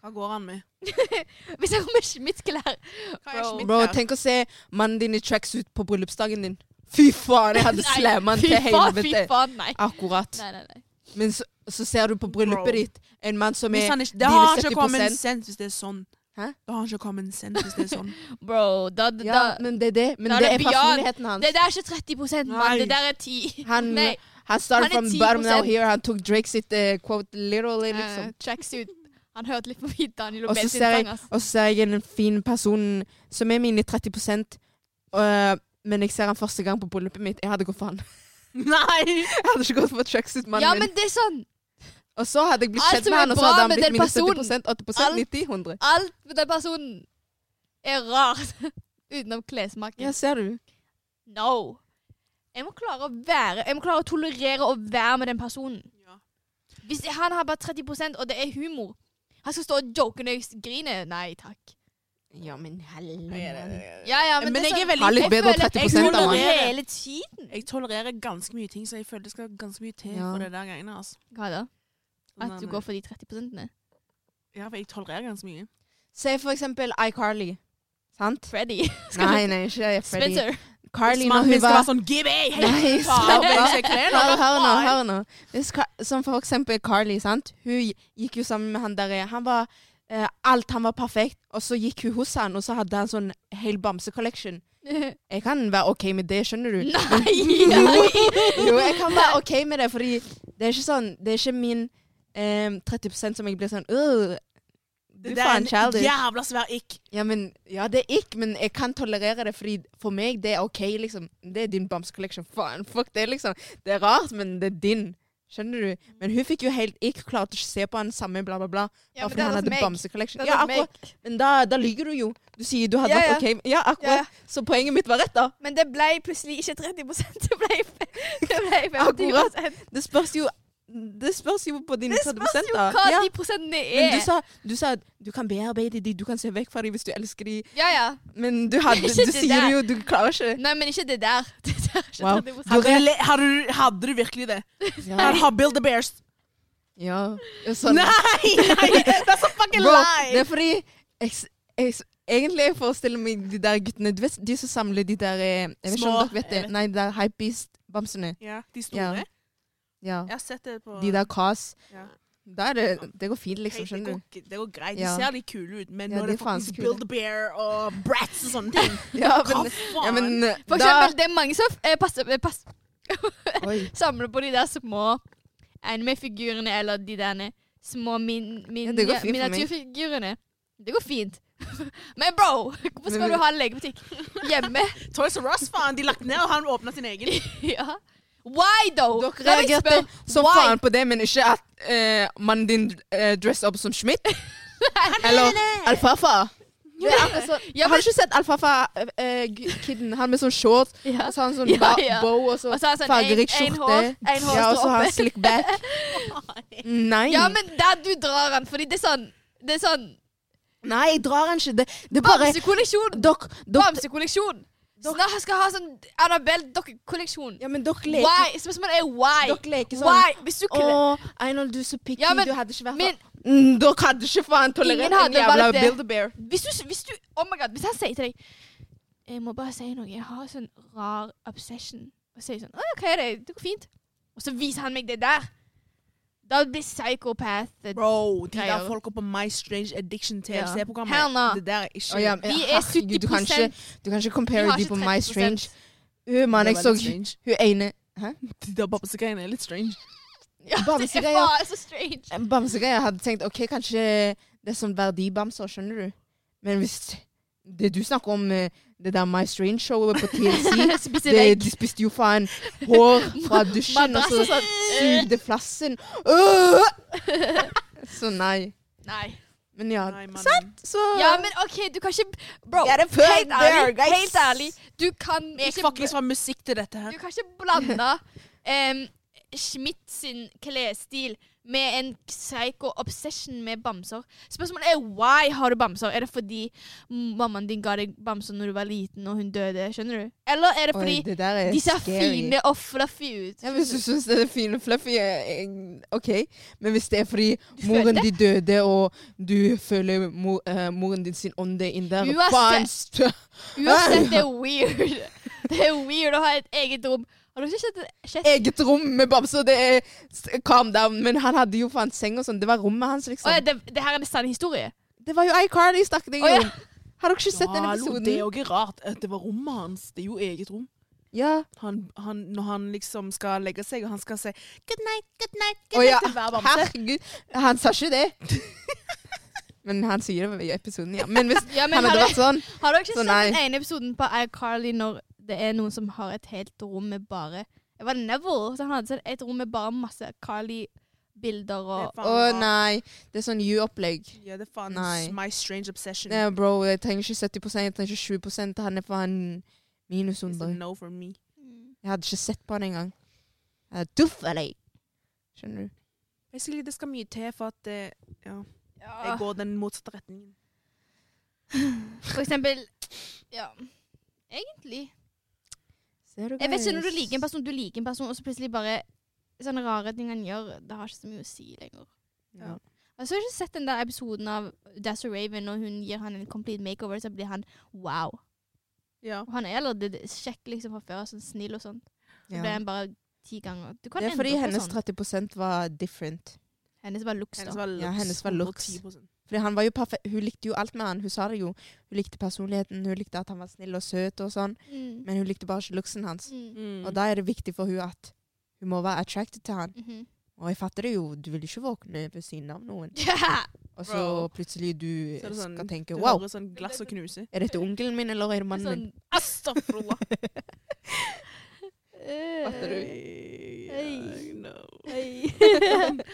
Speaker 3: Hva går han med?
Speaker 1: Hvis jeg kommer med mitt
Speaker 2: (laughs)
Speaker 1: klær
Speaker 3: Hva er
Speaker 1: Bro.
Speaker 3: Schmidt
Speaker 2: Bro,
Speaker 3: der?
Speaker 2: tenk å se mannen din i tracksuit på bryllupsdagen din. Fy faen, jeg hadde
Speaker 1: (laughs) Nei,
Speaker 2: slamma han
Speaker 1: fy
Speaker 2: til
Speaker 1: faen,
Speaker 2: helvete.
Speaker 1: Fy faen, nei.
Speaker 2: Akkurat.
Speaker 1: Nei, nei, nei.
Speaker 2: Men så, så ser du på
Speaker 3: Bro.
Speaker 2: bryllupet ditt en mann som
Speaker 3: Hvis
Speaker 2: er
Speaker 3: han ikke,
Speaker 2: dine
Speaker 3: det har han ikke
Speaker 2: 70%.
Speaker 3: common sense hvis det er sånn.
Speaker 2: Hæ?
Speaker 3: Da har han ikke common sense hvis det er
Speaker 2: (laughs)
Speaker 3: sånn.
Speaker 1: Bro, da, da,
Speaker 2: Ja, men det er det. Men
Speaker 1: Da er
Speaker 2: det er
Speaker 1: det beyond.
Speaker 2: personligheten hans.
Speaker 1: Det der er ikke 30 mann.
Speaker 3: Nei.
Speaker 1: Det der er 10.
Speaker 2: Han,
Speaker 1: Nei.
Speaker 2: han started
Speaker 1: han er
Speaker 2: from bottom now
Speaker 1: 10%.
Speaker 2: here. Han tok Drake sitt eh, quote literally, liksom.
Speaker 1: Eh, tracksuit. Han hørte litt forbi Daniel
Speaker 2: Og så
Speaker 1: Lobel sin
Speaker 2: ser jeg-
Speaker 1: sang, ass.
Speaker 2: Og så ser jeg en fin person som er mine 30 øh, men jeg ser han første gang på bryllupet mitt. Jeg hadde gått for han.
Speaker 3: Nei!
Speaker 2: (laughs) Jeg hadde ikke gått for tracksuit-mannen
Speaker 1: Ja,
Speaker 2: min.
Speaker 1: men det er sånn.
Speaker 2: Og så hadde jeg blitt
Speaker 1: Alt
Speaker 2: kjent
Speaker 1: som
Speaker 2: med
Speaker 1: er
Speaker 2: han, og så
Speaker 1: bra
Speaker 2: hadde han
Speaker 1: med
Speaker 2: blitt
Speaker 1: den
Speaker 2: mine
Speaker 1: personen,
Speaker 2: 70 80
Speaker 1: alt-
Speaker 2: 90 100
Speaker 1: Alt med den personen er rart. (laughs) Utenom klesmaken.
Speaker 2: Ja, ser du.
Speaker 1: No. Jeg må klare å være Jeg må klare å tolerere å være med den personen.
Speaker 3: Ja.
Speaker 1: Hvis han har bare 30 og det er humor Han skal stå og joke når jeg griner. Nei takk.
Speaker 2: Ja, men helvete.
Speaker 1: Ja, ja, men,
Speaker 3: Men
Speaker 1: det
Speaker 3: jeg
Speaker 1: er
Speaker 3: er
Speaker 1: sånn,
Speaker 3: veldig-
Speaker 2: Ha litt
Speaker 1: jeg
Speaker 2: bedre
Speaker 1: føler at
Speaker 2: 30%
Speaker 1: Jeg
Speaker 2: av han.
Speaker 1: tolererer hele tiden.
Speaker 3: Jeg tolererer ganske mye ting, så jeg føler det skal ganske mye til
Speaker 2: Ja.
Speaker 3: for det der greiene. Altså.
Speaker 1: Hva da?
Speaker 3: Sånn
Speaker 1: At du
Speaker 3: der-
Speaker 1: går for de 30
Speaker 3: Ja, for jeg tolererer ganske mye.
Speaker 2: Se for eksempel iCarly. Sant?
Speaker 1: Freddy.
Speaker 2: Nei, nei, ikke Freddy.
Speaker 1: Spencer.
Speaker 2: Carly,
Speaker 3: Mannen
Speaker 2: når
Speaker 3: min
Speaker 2: hun
Speaker 3: skal
Speaker 2: var
Speaker 3: være sånn Gibby!
Speaker 2: Nei, slapp av. Hør, hør nå,
Speaker 3: faen.
Speaker 2: hør nå. Hvis Ka- Som for eksempel Carly, sant. Hun gikk jo sammen med han der Han var eh, Alt han var perfekt, og så gikk hun hos han, og så hadde han sånn hel bamse-collection. Jeg kan være OK med det, skjønner du.
Speaker 1: (laughs) Nei!
Speaker 2: Jo, jeg kan være OK med det, fordi det er ikke sånn Det er ikke min ehm, 30 som jeg blir sånn «Åh, Du
Speaker 3: Det
Speaker 2: er faen
Speaker 3: er en
Speaker 2: childish.
Speaker 3: jævla svær ikk.
Speaker 2: Ja, men, ja, det er ikke, men jeg kan tolerere det, fordi for meg det er OK, liksom. Det er din bamsekolleksjon. Faen, fuck det, liksom. Det er rart, men det er din. Skjønner du? Men hun fikk jo helt ikke klart å ikke se på han samme, bla, bla, bla.
Speaker 1: (laughs) Ja,
Speaker 2: bare fordi han hadde bamsekolleksjon.
Speaker 1: Det sånn
Speaker 2: Ja,
Speaker 1: hadde vært
Speaker 2: akkurat. Men da, da lyver du jo. Du sier du hadde
Speaker 1: Ja,
Speaker 2: vært OK. Ja,
Speaker 1: Ja.
Speaker 2: akkurat. Så poenget mitt var rett, da.
Speaker 1: Men det ble plutselig ikke 30 det ble, det ble 50
Speaker 2: Akkurat. Det spørs jo, det spørs jo på dine
Speaker 1: Det
Speaker 2: 30
Speaker 1: spørs jo hva
Speaker 2: Ja.
Speaker 1: de prosentene
Speaker 2: Men
Speaker 1: er.
Speaker 2: du sa, du sa at du kan bearbeide de, du kan se vekk fra de hvis du elsker de.
Speaker 1: ja, ja.
Speaker 2: Men (laughs) du, hadde,
Speaker 1: Ikke
Speaker 2: du
Speaker 1: det
Speaker 2: sier
Speaker 1: der.
Speaker 2: jo, du klarer ikke.
Speaker 1: Nei, men ikke det der. (laughs) Det der er ikke
Speaker 2: Wow.
Speaker 1: 30
Speaker 3: Hadde, du le- hadde, du- hadde du virkelig det? Hadde Bill the Bears
Speaker 2: Ja. Sånn.
Speaker 3: Nei! nei, Det er så fucking
Speaker 2: Bro,
Speaker 3: Why?
Speaker 2: Det er fordi jeg, s- jeg, s- Egentlig jeg forestiller meg de der guttene Du vet, de som samler de der eh, Jeg vet ikke
Speaker 3: Små,
Speaker 2: om dere vet det.
Speaker 3: jeg vet.
Speaker 2: Nei, de der hypebeast-bamsene.
Speaker 3: Ja, de
Speaker 2: Ja.
Speaker 3: store.
Speaker 2: Ja.
Speaker 3: Jeg har sett det på
Speaker 2: De der Kas.
Speaker 3: Ja.
Speaker 2: Da er det Det går fint, liksom.
Speaker 3: Hei, det,
Speaker 2: Skjønner
Speaker 3: går,
Speaker 2: du?
Speaker 3: ikke- det går greit. De
Speaker 2: Ja.
Speaker 3: ser litt kule ut, men
Speaker 2: Ja,
Speaker 3: når
Speaker 2: de
Speaker 3: det
Speaker 2: er faen
Speaker 3: faktisk
Speaker 2: så kule.
Speaker 3: Build-A-Bear og Bratz og
Speaker 2: (laughs)
Speaker 3: sånne ting
Speaker 2: Ja,
Speaker 3: Hva
Speaker 2: men,
Speaker 3: faen?
Speaker 2: ja, men eh,
Speaker 1: For
Speaker 2: da
Speaker 1: eksempel, det er mange som eh, passer, eh, pass,
Speaker 2: Oi.
Speaker 1: samler på de der små anime-figurene, eller de der små min, min,
Speaker 2: Ja, det går fint for meg.
Speaker 1: miniatyrfigurene. Det går fint. (laughs) Men bro, hvorfor skal
Speaker 2: Men-
Speaker 1: du ha en legebutikk hjemme? (laughs)
Speaker 3: Toys R Us, faen. De lagt ned, og han åpna sin
Speaker 2: (laughs)
Speaker 3: egen.
Speaker 1: ja. Why though?
Speaker 2: Dere
Speaker 1: Da vil jeg
Speaker 2: reagerte
Speaker 1: spørre,
Speaker 2: som
Speaker 1: why?
Speaker 2: faen på det, men ikke at eh, mannen din uh, dress up som
Speaker 1: (laughs)
Speaker 2: Schmidt. Eller Alfafa. Det er akkurat sånn-
Speaker 1: Ja,
Speaker 2: Har du ikke sett Alfafa-kiden? han med sånn shorts
Speaker 1: Ja.
Speaker 2: og så har han sånn
Speaker 1: Ja,
Speaker 2: ba-
Speaker 1: ja.
Speaker 2: bow og så
Speaker 1: Og så har han sånn en-
Speaker 2: fargerik
Speaker 1: en
Speaker 2: skjorte.
Speaker 1: hår- en hår
Speaker 2: Ja, og
Speaker 1: står
Speaker 2: så har han
Speaker 1: oppe.
Speaker 2: slick
Speaker 1: (laughs)
Speaker 2: back. Nei.
Speaker 1: Ja, men der du drar den, fordi det er sånn Det er sånn
Speaker 2: Nei, jeg drar han ikke. Det, det er bare
Speaker 1: Bamsekolleksjon!
Speaker 2: Dere dere-
Speaker 1: Bamsekolleksjon! Snart skal jeg ha sånn Annabelle-dokkekolleksjon.
Speaker 2: Ja, men dere leker,
Speaker 1: Why? Spørsmålet er why?
Speaker 2: dere leker sånn.
Speaker 1: Why? Hvis du
Speaker 2: Å,
Speaker 1: kle-
Speaker 2: Einhold, du er så picky.
Speaker 1: Ja, men-
Speaker 2: du hadde ikke vært
Speaker 1: men-
Speaker 2: Mm, Dere hadde ikke faen tolerert
Speaker 1: Ingen hadde
Speaker 2: en jævla
Speaker 1: valgt det.
Speaker 2: Build-A-Bear.
Speaker 1: Hvis du, hvis du Oh my god, hvis han sier til deg Jeg må bare si noe. Jeg har sånn rar obsession. Og sier sånn Å, hva er det? Det går fint. Og så viser han meg det der. Da blir psykopat
Speaker 3: Bro, de der
Speaker 1: Greier.
Speaker 3: folka på My Strange Addiction
Speaker 1: Ja.
Speaker 3: TV-programmet
Speaker 1: Hell no.
Speaker 3: Det der er ikke
Speaker 2: Å, ja, men
Speaker 1: De er
Speaker 2: herregud,
Speaker 1: 70
Speaker 2: du kan ikke, du kan ikke compare de på My Strange. Uh, man,
Speaker 3: Det
Speaker 2: jeg
Speaker 3: var
Speaker 2: så
Speaker 3: litt strange. (laughs)
Speaker 2: hun ene Hæ?
Speaker 3: De der babsegreiene er litt strange.
Speaker 1: Ja, det er
Speaker 2: Bamsegreier.
Speaker 1: faen så strange.
Speaker 2: En Bamsegreie jeg hadde tenkt OK, kanskje det er sånn verdibamser, skjønner du? Men hvis det du snakker om, eh, det der My Strange-showet på
Speaker 1: (laughs)
Speaker 2: TLC det,
Speaker 1: Spise vegg.
Speaker 2: De spiste jo faen hår
Speaker 1: (laughs)
Speaker 2: fra dusjen, og
Speaker 1: Madrass
Speaker 2: så
Speaker 1: og sånn.
Speaker 2: sugde flassen.
Speaker 1: (laughs)
Speaker 2: Øh! Så nei.
Speaker 1: Nei.
Speaker 2: Men ja.
Speaker 3: Nei, mannen.
Speaker 2: Så
Speaker 1: Ja, men OK, du kan ikke Bro,
Speaker 2: Get a
Speaker 1: helt
Speaker 2: foot there,
Speaker 1: ærlig,
Speaker 2: guys.
Speaker 1: helt ærlig du kan
Speaker 3: Det gikk
Speaker 1: ikke
Speaker 3: faktisk fra musikk til dette her.
Speaker 1: Du kan ikke blande um, Schmidt sin klesstil med en psycho obsession med bamser. Spørsmålet er why har du bamser? Er det fordi mammaen din ga deg bamser når du var liten og hun døde? Skjønner du? Eller er det fordi
Speaker 2: Oi, det der er
Speaker 1: de ser
Speaker 2: scary.
Speaker 1: fine og fluffy ut?
Speaker 2: Ja, hvis du syns det er fine og fluffy, eh, eh, OK. Men hvis det er fordi moren
Speaker 1: føler
Speaker 2: din døde, og du føler mor, eh, moren din sin ånde inn der
Speaker 1: Uansett-
Speaker 2: faen, st-
Speaker 1: Uansett, det er weird. (laughs) Det er weird å ha et eget rom. Har du ikke sett det?
Speaker 2: (laughs)
Speaker 1: Shit.
Speaker 2: Eget rom med bamser, det er s- calm down. Men han hadde jo faen seng og sånn. Det var rommet hans, liksom.
Speaker 1: Å ja, det, det her er en sann historie.
Speaker 2: Det var jo iCarly, stakk deg
Speaker 1: Å, ja.
Speaker 2: om. Har dere ikke sett den
Speaker 3: Hallo, det er
Speaker 2: episoden?
Speaker 3: jo ikke rart at det var rommet hans. Det er jo eget rom.
Speaker 2: Ja.
Speaker 3: Han, han, når han liksom skal legge seg, og han skal si good night, good night,
Speaker 2: Å
Speaker 3: good night
Speaker 2: ja,
Speaker 3: til hver bamse.
Speaker 2: herregud. Han sa ikke det. (laughs) Men han sier det i episoden, ja. Men hvis
Speaker 1: (laughs) Ja, men
Speaker 2: han hadde
Speaker 1: har-
Speaker 2: vært sånn
Speaker 1: Har dere ikke
Speaker 2: Så
Speaker 1: sett
Speaker 2: nei.
Speaker 1: den ene episoden på iCarly når det er noen som har et helt rom med bare Det var Neville, så han hadde sett et rom med bare masse Carly-bilder og
Speaker 2: Å nei. Det er sånn you-opplegg.
Speaker 3: Ja, det er faen
Speaker 2: Nei.
Speaker 3: My Strange Obsession.
Speaker 2: Nei, bro, jeg trenger ikke 70 jeg trenger ikke 20 Han er faen minus
Speaker 3: It's a
Speaker 2: 100.
Speaker 3: no for me.
Speaker 2: Jeg hadde ikke sett på han engang. Jeg er Duff eller Skjønner du?
Speaker 3: Basically, det skal mye til for at eh,
Speaker 1: ja.
Speaker 3: jeg går den motsatte retningen.
Speaker 1: For eksempel Ja. Egentlig.
Speaker 2: Ser du,
Speaker 1: Jeg vet ikke når du
Speaker 2: guys?
Speaker 1: liker en person, du liker en person, og så plutselig bare Sånne rare ting han gjør, det har ikke så mye å si lenger.
Speaker 2: Ja.
Speaker 1: Altså, jeg har ikke sett den der episoden av Dazza Raven, og hun gir han en complete makeover, så blir han wow.
Speaker 3: Ja.
Speaker 1: Og han er allerede kjekk liksom fra før, sånn snill og sånn. Så ble
Speaker 2: Ja.
Speaker 1: han bare ti ganger. Du kan
Speaker 2: Det er fordi
Speaker 1: endre på
Speaker 2: hennes
Speaker 1: sånn.
Speaker 2: 30 var different.
Speaker 1: Hennes var looks,
Speaker 3: Hennes
Speaker 1: da.
Speaker 3: var looks.
Speaker 2: Ja, hennes var looks.
Speaker 3: 110%.
Speaker 2: Fordi han var jo perfekt. Hun likte jo alt med han. Hun sa det jo. Hun likte personligheten, hun likte at han var snill og søt og sånn.
Speaker 1: Mm.
Speaker 2: Men hun likte bare ikke looksen hans.
Speaker 1: Mm.
Speaker 3: Mm.
Speaker 2: Og da er det viktig for hun at hun må være attracted til han.
Speaker 1: (laughs) Mhm.
Speaker 2: Og jeg fatter det jo. Du vil ikke våkne ved siden av
Speaker 1: (laughs)
Speaker 2: noen. Og så
Speaker 3: Bro.
Speaker 2: plutselig du
Speaker 3: Så er det sånn,
Speaker 2: skal tenke
Speaker 3: du
Speaker 2: wow.
Speaker 3: hører sånn glass og knuse.
Speaker 2: Er dette onkelen min, eller er det mannen min?
Speaker 1: Sånn
Speaker 3: (laughs) Astafroa!
Speaker 1: Fatter Hey.
Speaker 3: (laughs)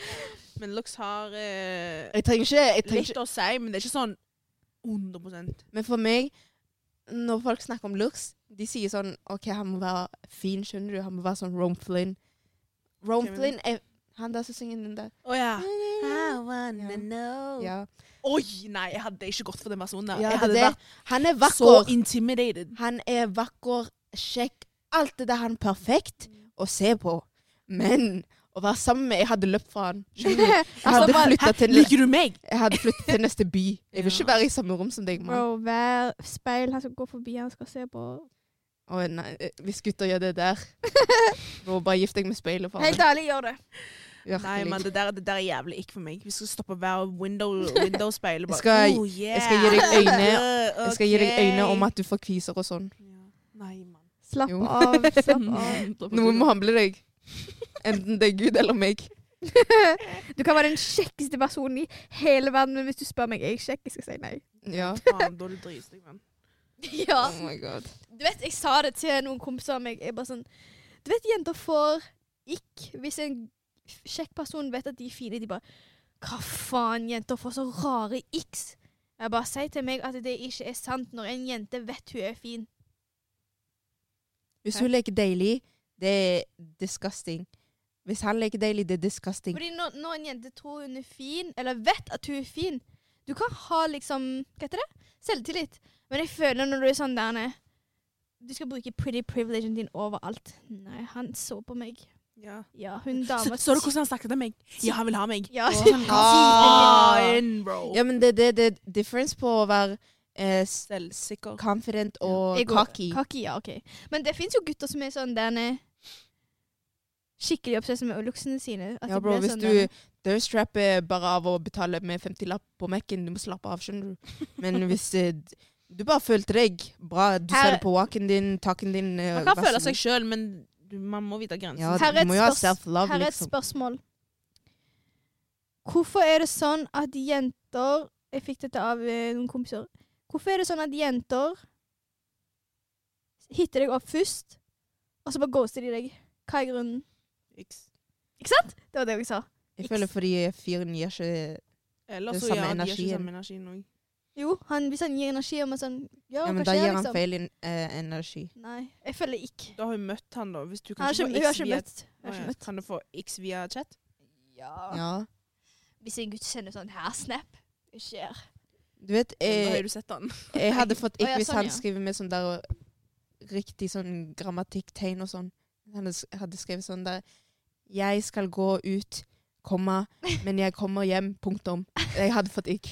Speaker 3: men looks har eh,
Speaker 2: Jeg trenger ikke, jeg trenger
Speaker 3: litt å si, men det er ikke sånn 100
Speaker 2: ikke. Men for meg, når folk snakker om looks, de sier sånn OK, han må være fin, skjønner du? Han må være sånn Rome Flynn. Rome
Speaker 3: Hvem er det?
Speaker 2: Flynn er han der som synger den der
Speaker 3: Å ja.
Speaker 2: Mm. Ja.
Speaker 3: know.
Speaker 2: ja.
Speaker 3: Oi, nei, jeg hadde ikke gått for den personen der.
Speaker 2: Ja,
Speaker 3: jeg
Speaker 2: det er
Speaker 3: hadde
Speaker 2: det.
Speaker 3: vært
Speaker 2: Han er
Speaker 3: så
Speaker 2: vakker.
Speaker 3: intimidated.
Speaker 2: Han er vakker, kjekk. Alt det der han er perfekt å se på. Men å være sammen med. Jeg hadde løpt fra han. Skjønner
Speaker 1: (laughs)
Speaker 2: du?
Speaker 1: Bro,
Speaker 3: Altså,
Speaker 2: Jeg hadde flytta til,
Speaker 3: Liker du meg?
Speaker 2: jeg hadde flyttet til neste by. Jeg vil
Speaker 3: Ja.
Speaker 2: ikke være i samme rom som deg, mann.
Speaker 1: hver speil han skal gå forbi, han skal se på
Speaker 2: Å, nei, eh, Hvis gutter gjør det (laughs) der Bro, Bare gift deg med speilet, faen.
Speaker 1: Helt ærlig, gjør det.
Speaker 3: Nei,
Speaker 2: Virkelig.
Speaker 3: men det der, det der er jævlig ikke for meg. Vi skal stoppe hver
Speaker 2: (laughs)
Speaker 3: window, window-speil. og bare,
Speaker 2: Jeg skal-
Speaker 3: oh, yeah.
Speaker 2: jeg skal gi deg øyne-
Speaker 3: Good,
Speaker 2: Jeg skal gi deg
Speaker 3: ok.
Speaker 2: øyne om at du får kviser og sånn.
Speaker 3: Ja. Nei,
Speaker 2: (laughs)
Speaker 3: mann.
Speaker 1: Slapp
Speaker 2: Jo.
Speaker 1: av. (laughs) slapp av.
Speaker 2: Noen må handle (laughs) deg. Enten det er Gud eller meg.
Speaker 1: Du kan være den kjekkeste personen i hele verden, men hvis du spør meg, er jeg kjekk? Jeg skal si nei.
Speaker 2: Ja.
Speaker 3: Faen, da er du dritstygg, mann.
Speaker 1: (laughs) Ja.
Speaker 2: Oh my god.
Speaker 1: Du vet, jeg sa det til noen kompiser av meg. Jeg bare sånn Du vet, jenter får ikk hvis en kjekk person vet at de er fine. De bare Hva faen, jenter får så rare iks. Jeg bare sier til meg at det ikke er sant når en jente vet hun er fin.
Speaker 2: Hvis hun leker deilig, det er disgusting. Hvis han leker deilig, det er disgusting.
Speaker 1: Fordi når, når en jente tror hun er fin, eller vet at hun er fin Du kan ha liksom Hva heter det? Selvtillit. Men jeg føler når du er sånn der nede Du skal bruke pretty privilegion din overalt. Nei, han så på meg.
Speaker 3: Ja.
Speaker 1: Ja, hun
Speaker 3: Så,
Speaker 1: dama
Speaker 3: så du hvordan han snakket til meg? Ja, han vil ha meg.
Speaker 1: (laughs) Ja,
Speaker 3: Faen, bro.
Speaker 2: Ja, men det, det, det er difference på å være eh, s-
Speaker 3: Selvsikker.
Speaker 2: confident og
Speaker 1: Jeg går-
Speaker 2: cocky.
Speaker 1: Kaki, ja, ok. Men det fins jo gutter som er sånn derne skikkelig obsess med luksene sine. At
Speaker 2: Ja,
Speaker 1: det
Speaker 2: bro,
Speaker 1: blir
Speaker 2: hvis
Speaker 1: sånn
Speaker 2: du
Speaker 1: derne-
Speaker 2: thirstrapper bare av å betale med 50-lapp på Mac-en, du må slappe av, skjønner du.
Speaker 1: (laughs)
Speaker 2: Men hvis eh, d- du bare følte deg bra, du sa
Speaker 1: Her-
Speaker 2: det på walken din, taken din eh,
Speaker 3: Man kan
Speaker 2: vær
Speaker 3: føle
Speaker 2: så
Speaker 3: seg
Speaker 2: god.
Speaker 3: sjøl, men du, man må vite grensen.
Speaker 2: Ja,
Speaker 1: Her er
Speaker 2: du
Speaker 1: et
Speaker 2: må jo ha
Speaker 1: spørs-
Speaker 2: self-love,
Speaker 1: Her er et
Speaker 2: liksom.
Speaker 1: spørsmål. Hvorfor er det sånn at jenter Jeg fikk dette av eh, noen kompiser. Hvorfor er det sånn at jenter hitter deg opp først, og så bare ghoster de deg? Hva er grunnen?
Speaker 3: X.
Speaker 1: Ikke sant? Det var det jeg sa.
Speaker 2: Jeg føler fordi fyren gir ikke
Speaker 3: Eller
Speaker 2: Det er
Speaker 3: så
Speaker 2: samme
Speaker 3: ja, de har ikke
Speaker 2: energien.
Speaker 3: samme energien òg.
Speaker 1: Jo, han, hvis han gir energi om en sånn Ja,
Speaker 2: Ja,
Speaker 1: hva
Speaker 2: men da
Speaker 1: skjer,
Speaker 2: gir han
Speaker 1: liksom?
Speaker 2: feil en- eh, energi.
Speaker 1: Nei, jeg føler ikke.
Speaker 3: Da har hun møtt han, da. Hvis du
Speaker 1: Han
Speaker 3: kan
Speaker 1: har
Speaker 3: ikke
Speaker 1: ikke,
Speaker 3: få
Speaker 1: hun har
Speaker 3: X
Speaker 1: ikke
Speaker 3: via
Speaker 1: møtt. Hun har
Speaker 3: Å,
Speaker 1: ikke
Speaker 3: ja.
Speaker 1: møtt.
Speaker 3: Kan du få X via chat?
Speaker 1: Ah.
Speaker 2: Ja.
Speaker 1: Hvis en gutt sender sånn her snap skjer.
Speaker 2: Du vet, eh,
Speaker 3: Da
Speaker 2: jeg,
Speaker 3: har du sett
Speaker 2: (laughs)
Speaker 3: han.
Speaker 2: jeg hadde fått
Speaker 1: Å, ja,
Speaker 2: ikke hvis
Speaker 1: sånn,
Speaker 2: han
Speaker 1: ja.
Speaker 2: skriver med sånn der riktig sånn grammatikktegn og sånn. Han s- hadde skrevet sånn der Jeg skal gå ut, komma, men jeg kommer hjem, punktum. Jeg hadde fått ikk.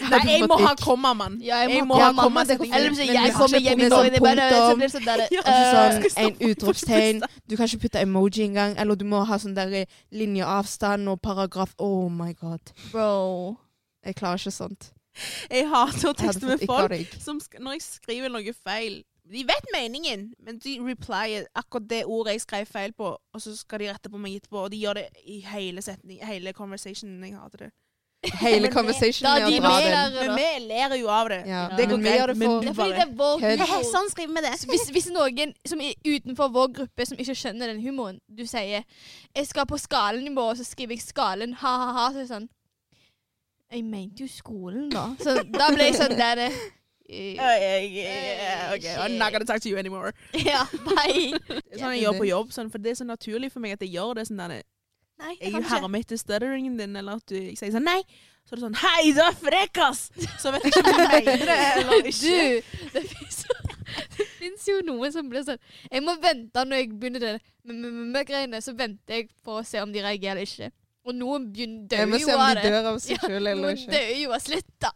Speaker 2: Jeg hadde
Speaker 3: Nei, jeg
Speaker 2: fått
Speaker 3: må ha
Speaker 2: ikk.
Speaker 3: komma, mann.
Speaker 1: Ja, jeg må ha
Speaker 3: Jeg må ha
Speaker 2: komma,
Speaker 3: komma.
Speaker 2: det går fint.
Speaker 1: Eller
Speaker 3: setningen.
Speaker 1: hvis jeg,
Speaker 2: Men
Speaker 1: jeg
Speaker 2: vi har
Speaker 1: kommer
Speaker 2: ikke
Speaker 1: hjem i
Speaker 2: kommet
Speaker 1: går,
Speaker 2: sånn
Speaker 1: det er bare
Speaker 2: punktum.
Speaker 1: så blir det sånn der,
Speaker 3: Ja,
Speaker 1: eh,
Speaker 2: Sånn en utropstegn. Du kan ikke putte emoji engang. Eller du må ha sånn der eh, linjeavstand og paragraf. Oh my god.
Speaker 1: Bro.
Speaker 2: Jeg klarer ikke sånt.
Speaker 3: Jeg hater
Speaker 2: Jeg hadde
Speaker 3: å tekste med
Speaker 2: fått ikk av
Speaker 3: folk
Speaker 2: deg.
Speaker 3: (laughs) som sk når jeg skriver noe feil. De vet meningen, men de replyer akkurat det ordet jeg skrev feil på, og så skal de rette på meg etterpå, og de gjør det i hele setning, hele conversationen. Jeg hater det.
Speaker 2: Hele conversationen
Speaker 1: Da
Speaker 2: er
Speaker 1: de
Speaker 2: å dra
Speaker 1: med
Speaker 2: den.
Speaker 1: der-
Speaker 3: Men vi ler jo av det.
Speaker 2: Ja.
Speaker 1: Ja.
Speaker 3: Det går
Speaker 2: Men vi
Speaker 3: greit,
Speaker 2: gjør det
Speaker 3: men
Speaker 2: for-
Speaker 1: Det
Speaker 3: du
Speaker 1: er fordi det
Speaker 3: bare
Speaker 1: er vår
Speaker 2: Kødd.
Speaker 1: humor.
Speaker 3: Sånn skriver vi det.
Speaker 1: Så Hvis, hvis noen som er utenfor vår gruppe som ikke skjønner den humoren, du sier 'jeg skal på skalenivå', og så skriver jeg 'skalen', ha-ha-ha, så er det sånn Jeg mente jo skolen, da. Så da ble jeg sånn der (laughs) eh,
Speaker 3: Ja, ja, ja, ok, I'm not gonna talk to you anymore.
Speaker 1: Ja, bye.
Speaker 3: Det er sånn jeg gjør på jobb, sånn, for det er så naturlig for meg at jeg gjør det. sånn der,
Speaker 1: Nei, det
Speaker 3: Jeg
Speaker 1: kan
Speaker 3: jo
Speaker 1: ikke.
Speaker 3: hermer etter stutteringen din, eller at du jeg sier sånn nei. Så er det sånn hei, du er frekk, ass! Så vet jeg ikke om du mener det eller ikke.
Speaker 1: (laughs) Du, det fins jo, det finnes jo noen som blir sånn Jeg må vente når jeg begynner det med- med- med- med greiene, så venter jeg på å se om de reagerer eller ikke. Og noen begynner
Speaker 2: Jeg må
Speaker 1: dør
Speaker 2: se
Speaker 1: jo
Speaker 2: om
Speaker 1: av
Speaker 2: de
Speaker 1: det.
Speaker 2: dør av seg sjøl eller
Speaker 1: Noen
Speaker 2: ikke.
Speaker 1: dør jo av slutt, da.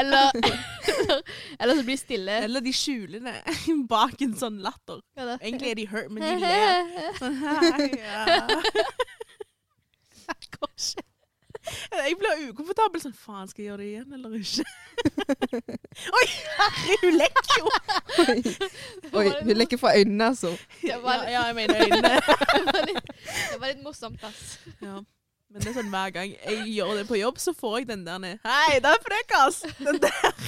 Speaker 1: Eller, (laughs) eller så blir de stille.
Speaker 3: (laughs) Eller de skjuler det (laughs) bak en sånn latter.
Speaker 1: Hva da? (laughs)
Speaker 3: Egentlig er de hurt, men de ler. Sånn, hei, ja. Går ikke. Jeg blir ukomfortabel. Sånn, faen, skal jeg gjøre det igjen eller ikke? (laughs) Oi, herre, hun lekker jo!
Speaker 2: Oi, hun lekker fra øynene, altså.
Speaker 1: (laughs) Det var litt-
Speaker 3: jeg mener øynene.
Speaker 1: (laughs) Det var litt- det var litt morsomt, ass.
Speaker 3: Ja. Men det er sånn hver gang jeg gjør det på jobb, så får jeg den der ned. Hei, det er frekk, ass! Den der.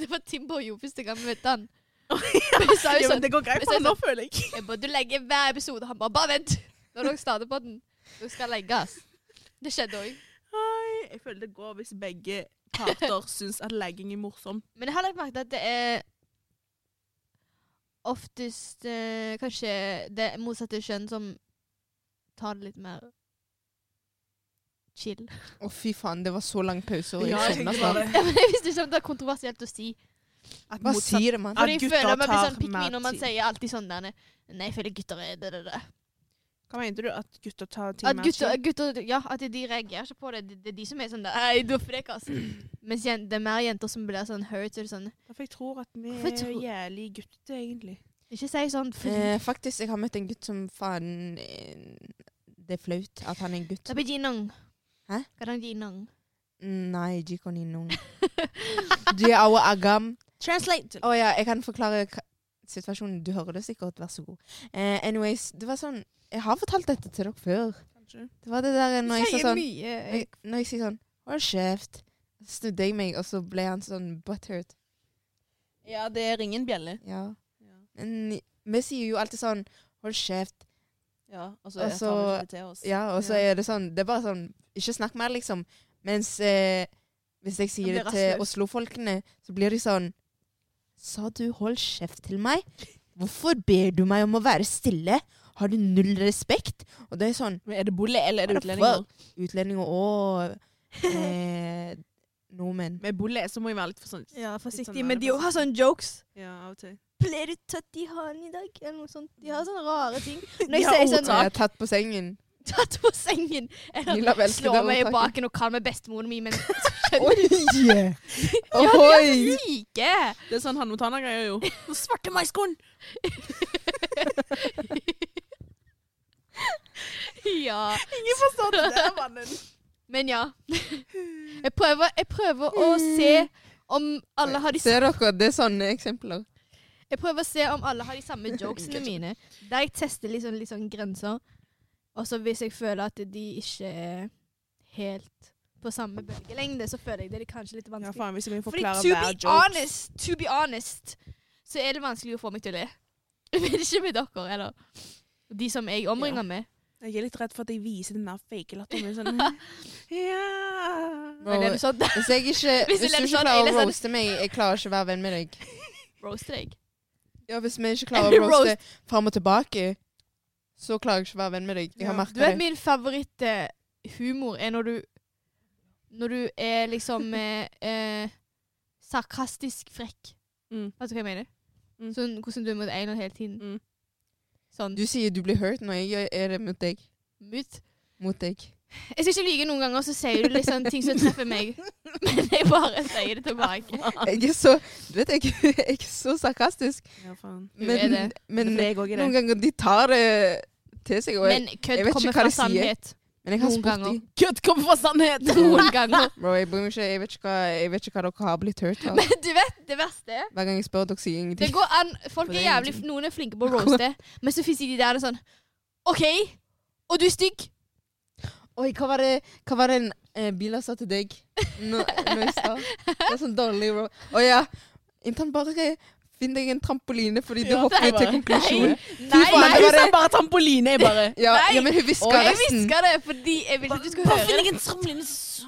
Speaker 1: Det var Timbo jo første gang vi møtte han.
Speaker 3: ja.
Speaker 1: Vi sa jo
Speaker 3: Ja, men
Speaker 1: sånn
Speaker 3: (laughs) det går greit
Speaker 1: hvis
Speaker 3: for
Speaker 1: jeg
Speaker 3: han nå, føler jeg.
Speaker 1: Jeg burde legge hver episode. Han bare 'bare vent'. Når dere starter på den. Dere skal legge, ass. Det skjedde òg.
Speaker 3: Hei, jeg føler det går hvis begge parter syns at legging er morsomt.
Speaker 1: Men jeg har lagt merke til at det er oftest eh, kanskje det motsatte kjønn som tar det litt mer chill.
Speaker 2: Å, fy faen, det var så lang pause, og
Speaker 3: Ja,
Speaker 2: jeg
Speaker 3: jeg
Speaker 2: sovna
Speaker 3: tenkte
Speaker 2: snart.
Speaker 3: bare-
Speaker 1: Ja, men jeg visste ikke om det var kontroversielt å si.
Speaker 3: At
Speaker 2: Hva
Speaker 3: motsatt-
Speaker 2: sier det, mann?
Speaker 3: At
Speaker 1: For jeg
Speaker 3: gutter
Speaker 1: føler man blir
Speaker 3: tar
Speaker 1: sånn pikk
Speaker 3: mer
Speaker 1: me når man
Speaker 3: tid.
Speaker 1: sier alltid sånn der Nei, jeg føler gutter er det, det, det.
Speaker 3: Hva mente du? At gutter tar ting
Speaker 1: At
Speaker 3: mer
Speaker 1: gutter,
Speaker 3: chill?
Speaker 1: gutter ja, at de reagerer ikke på det. Det, det er de som er sånn der, Ei, du er frekk, ass. Mens jen- det er mer jenter som blir sånn hurt. så er det sånn,
Speaker 3: Derfor jeg tror at vi
Speaker 1: Hvorfor
Speaker 3: er
Speaker 1: tror-
Speaker 3: jævlig gutter, egentlig.
Speaker 1: Ikke si sånn. For,
Speaker 2: Eh, faktisk, jeg har møtt en gutt som faen eh, Det er flaut at han er en gutt.
Speaker 1: Da blir jinong.
Speaker 2: Hæ?
Speaker 1: Garang jinong.
Speaker 2: Nei,
Speaker 3: (laughs)
Speaker 2: jikoninung. Jiawa agam.
Speaker 3: Translate!
Speaker 2: Å ja, jeg kan forklare hva- situasjonen. Du hører det sikkert, vær så god. Eh, anyways, det var sånn Jeg har fortalt dette til dere før.
Speaker 3: Kanskje.
Speaker 2: Det var det der når jeg sa sånn
Speaker 1: mye. eh,
Speaker 2: jeg, Når jeg sier sånn Hold kjeft. Så snudde jeg meg, og så ble han sånn butthurt.
Speaker 3: Ja, det ringer en bjelle.
Speaker 2: Ja.
Speaker 3: Ja.
Speaker 2: Men vi sier jo alltid sånn Hold kjeft.
Speaker 3: Ja, og så
Speaker 2: Og
Speaker 3: tar vi
Speaker 2: så-
Speaker 3: ikke det til oss.
Speaker 2: Ja, og så er det sånn Det er bare sånn Ikke snakk mer, liksom. Mens eh, hvis jeg
Speaker 1: blir
Speaker 2: sier det
Speaker 1: rastløs.
Speaker 2: til Oslo-folkene, så blir de sånn Sa du 'hold kjeft' til meg? Hvorfor ber du meg om å være stille? Har du null respekt? Og det er sånn
Speaker 3: Men er det bolle, eller er det
Speaker 2: What the
Speaker 3: utlendinger?
Speaker 2: Utlendinger og eh, nordmenn.
Speaker 3: Med bolle så må jeg være litt forsiktig.
Speaker 1: Ja,
Speaker 3: Litt
Speaker 1: forsiktig.
Speaker 3: sånn
Speaker 1: Men
Speaker 3: er det
Speaker 1: de
Speaker 3: faktisk.
Speaker 1: har sånne jokes.
Speaker 3: Ja, av og til.
Speaker 1: Ble du tatt i halen i dag? Eller noe sånt. De har sånne rare ting. Når
Speaker 3: De
Speaker 1: jeg
Speaker 3: har
Speaker 1: sier
Speaker 2: Så jeg
Speaker 1: sånn
Speaker 2: er tatt på sengen.
Speaker 1: (laughs) Tatt på sengen.
Speaker 2: Lilla
Speaker 1: Eller
Speaker 2: velter
Speaker 1: slår
Speaker 2: den
Speaker 1: meg i
Speaker 2: ordtaket.
Speaker 1: baken og kaller meg bestemoren min. Men
Speaker 2: Oi!
Speaker 1: (laughs) ja, de er
Speaker 2: Ohoi!
Speaker 1: så syke!
Speaker 3: Det er sånn Hanne Montana-greier, jo. Den (laughs) svarte maiskorn!
Speaker 1: Ja.
Speaker 3: Ingen forstår
Speaker 1: sånn.
Speaker 3: det der, (laughs) mannen.
Speaker 1: Men
Speaker 3: (laughs)
Speaker 1: ja. Jeg prøver, jeg prøver å
Speaker 3: Hmm.
Speaker 1: se om alle har de
Speaker 2: Ser dere, det er sånne eksempler.
Speaker 1: Jeg prøver å se om alle har de samme
Speaker 3: (laughs)
Speaker 1: jokesene mine. Der jeg tester litt sånn, litt sånn grenser. Og så hvis jeg føler at de ikke er helt på samme bølgelengde, så føler jeg det er kanskje litt
Speaker 3: Ja,
Speaker 1: vanskelig.
Speaker 3: faen, hvis vi
Speaker 1: Fordi
Speaker 3: forklarer
Speaker 1: to
Speaker 3: hver
Speaker 1: be
Speaker 3: joke
Speaker 1: honest, to be honest, så er det vanskelig å få meg til å le. (laughs) Men ikke med dere, eller de som jeg omringer
Speaker 3: Ja.
Speaker 1: med.
Speaker 3: Jeg er litt redd for at jeg viser den der fake latteren min sånn
Speaker 1: (laughs)
Speaker 3: Ja.
Speaker 1: Men det er sånn, (laughs)
Speaker 2: Hvis, jeg ikke,
Speaker 1: Hvis
Speaker 2: hvis,
Speaker 1: du
Speaker 2: du
Speaker 1: lever
Speaker 2: ikke
Speaker 1: sånn,
Speaker 2: klarer
Speaker 1: eller
Speaker 2: å
Speaker 1: sånn-
Speaker 2: roaste meg, jeg klarer ikke å være venn med deg.
Speaker 1: roast deg.
Speaker 2: Ja, Hvis vi ikke klarer å
Speaker 1: (laughs) Roast.
Speaker 2: roaste fram og tilbake, så klarer jeg ikke å være venn med deg. Jeg har
Speaker 3: Ja,
Speaker 1: Du vet
Speaker 2: merket det.
Speaker 1: min favoritthumor er når du Når du er
Speaker 3: (laughs)
Speaker 1: liksom eh, eh, sarkastisk frekk.
Speaker 3: Mm.
Speaker 1: Vet du hva jeg mener?
Speaker 3: Mm.
Speaker 1: Sånn hvordan du er mot Einar hele tiden.
Speaker 3: Mm.
Speaker 1: Sånn.
Speaker 2: Du sier du blir hurt når jeg er det mot deg.
Speaker 1: Mut.
Speaker 2: Mot deg.
Speaker 1: Jeg skal ikke lyge noen ganger, så sier du liksom ting som treffer
Speaker 3: (laughs)
Speaker 1: meg. Men jeg bare sier det tilbake.
Speaker 2: Jeg er så Du vet, jeg, (laughs) jeg er så sarkastisk.
Speaker 3: Ja, faen.
Speaker 1: Du
Speaker 2: Men,
Speaker 1: er det.
Speaker 2: men
Speaker 3: For jeg òg er
Speaker 2: noen
Speaker 3: det.
Speaker 2: ganger de tar det til seg. Og jeg,
Speaker 1: Men kødd
Speaker 2: vet ikke
Speaker 1: kommer
Speaker 2: hva
Speaker 1: fra
Speaker 2: de sier. (laughs)
Speaker 1: sannhet.
Speaker 2: men jeg har
Speaker 1: noen
Speaker 2: spurt
Speaker 1: ganger.
Speaker 2: de.
Speaker 3: Kødd kommer fra sannhet!
Speaker 1: Noen ganger.
Speaker 2: Bro, jeg bryr meg ikke. Jeg vet ikke hva, jeg vet ikke hva dere har blitt hørt av.
Speaker 1: (laughs) Men du vet det verste?
Speaker 2: Hver gang jeg spør, dere sier
Speaker 1: Det
Speaker 2: ingenting.
Speaker 1: går an, folk
Speaker 3: For
Speaker 1: er
Speaker 3: det er
Speaker 1: jævlig,
Speaker 3: ingenting.
Speaker 1: noen er flinke på å roaste, men så finnes de der sånn OK, og du er stygg.
Speaker 2: Oi, hva var det, hva var det en eh, bil sa til deg nå, nå i stad? Det er sånn dårlig ro. Å ja. Intern bare finn deg en trampoline, fordi du
Speaker 3: Ja,
Speaker 2: hopper
Speaker 3: det
Speaker 2: ut
Speaker 3: var
Speaker 2: til
Speaker 3: det.
Speaker 2: konklusjonen.
Speaker 1: Nei,
Speaker 2: faen,
Speaker 1: nei,
Speaker 2: det var
Speaker 3: sa bare trampoline, (laughs) jeg bare.
Speaker 2: Ja,
Speaker 1: Nei!
Speaker 2: ja, men hun
Speaker 1: Og
Speaker 2: hvisker
Speaker 1: jeg
Speaker 2: resten.
Speaker 1: hviska det fordi jeg ville ikke du skulle høre det.
Speaker 3: en trampoline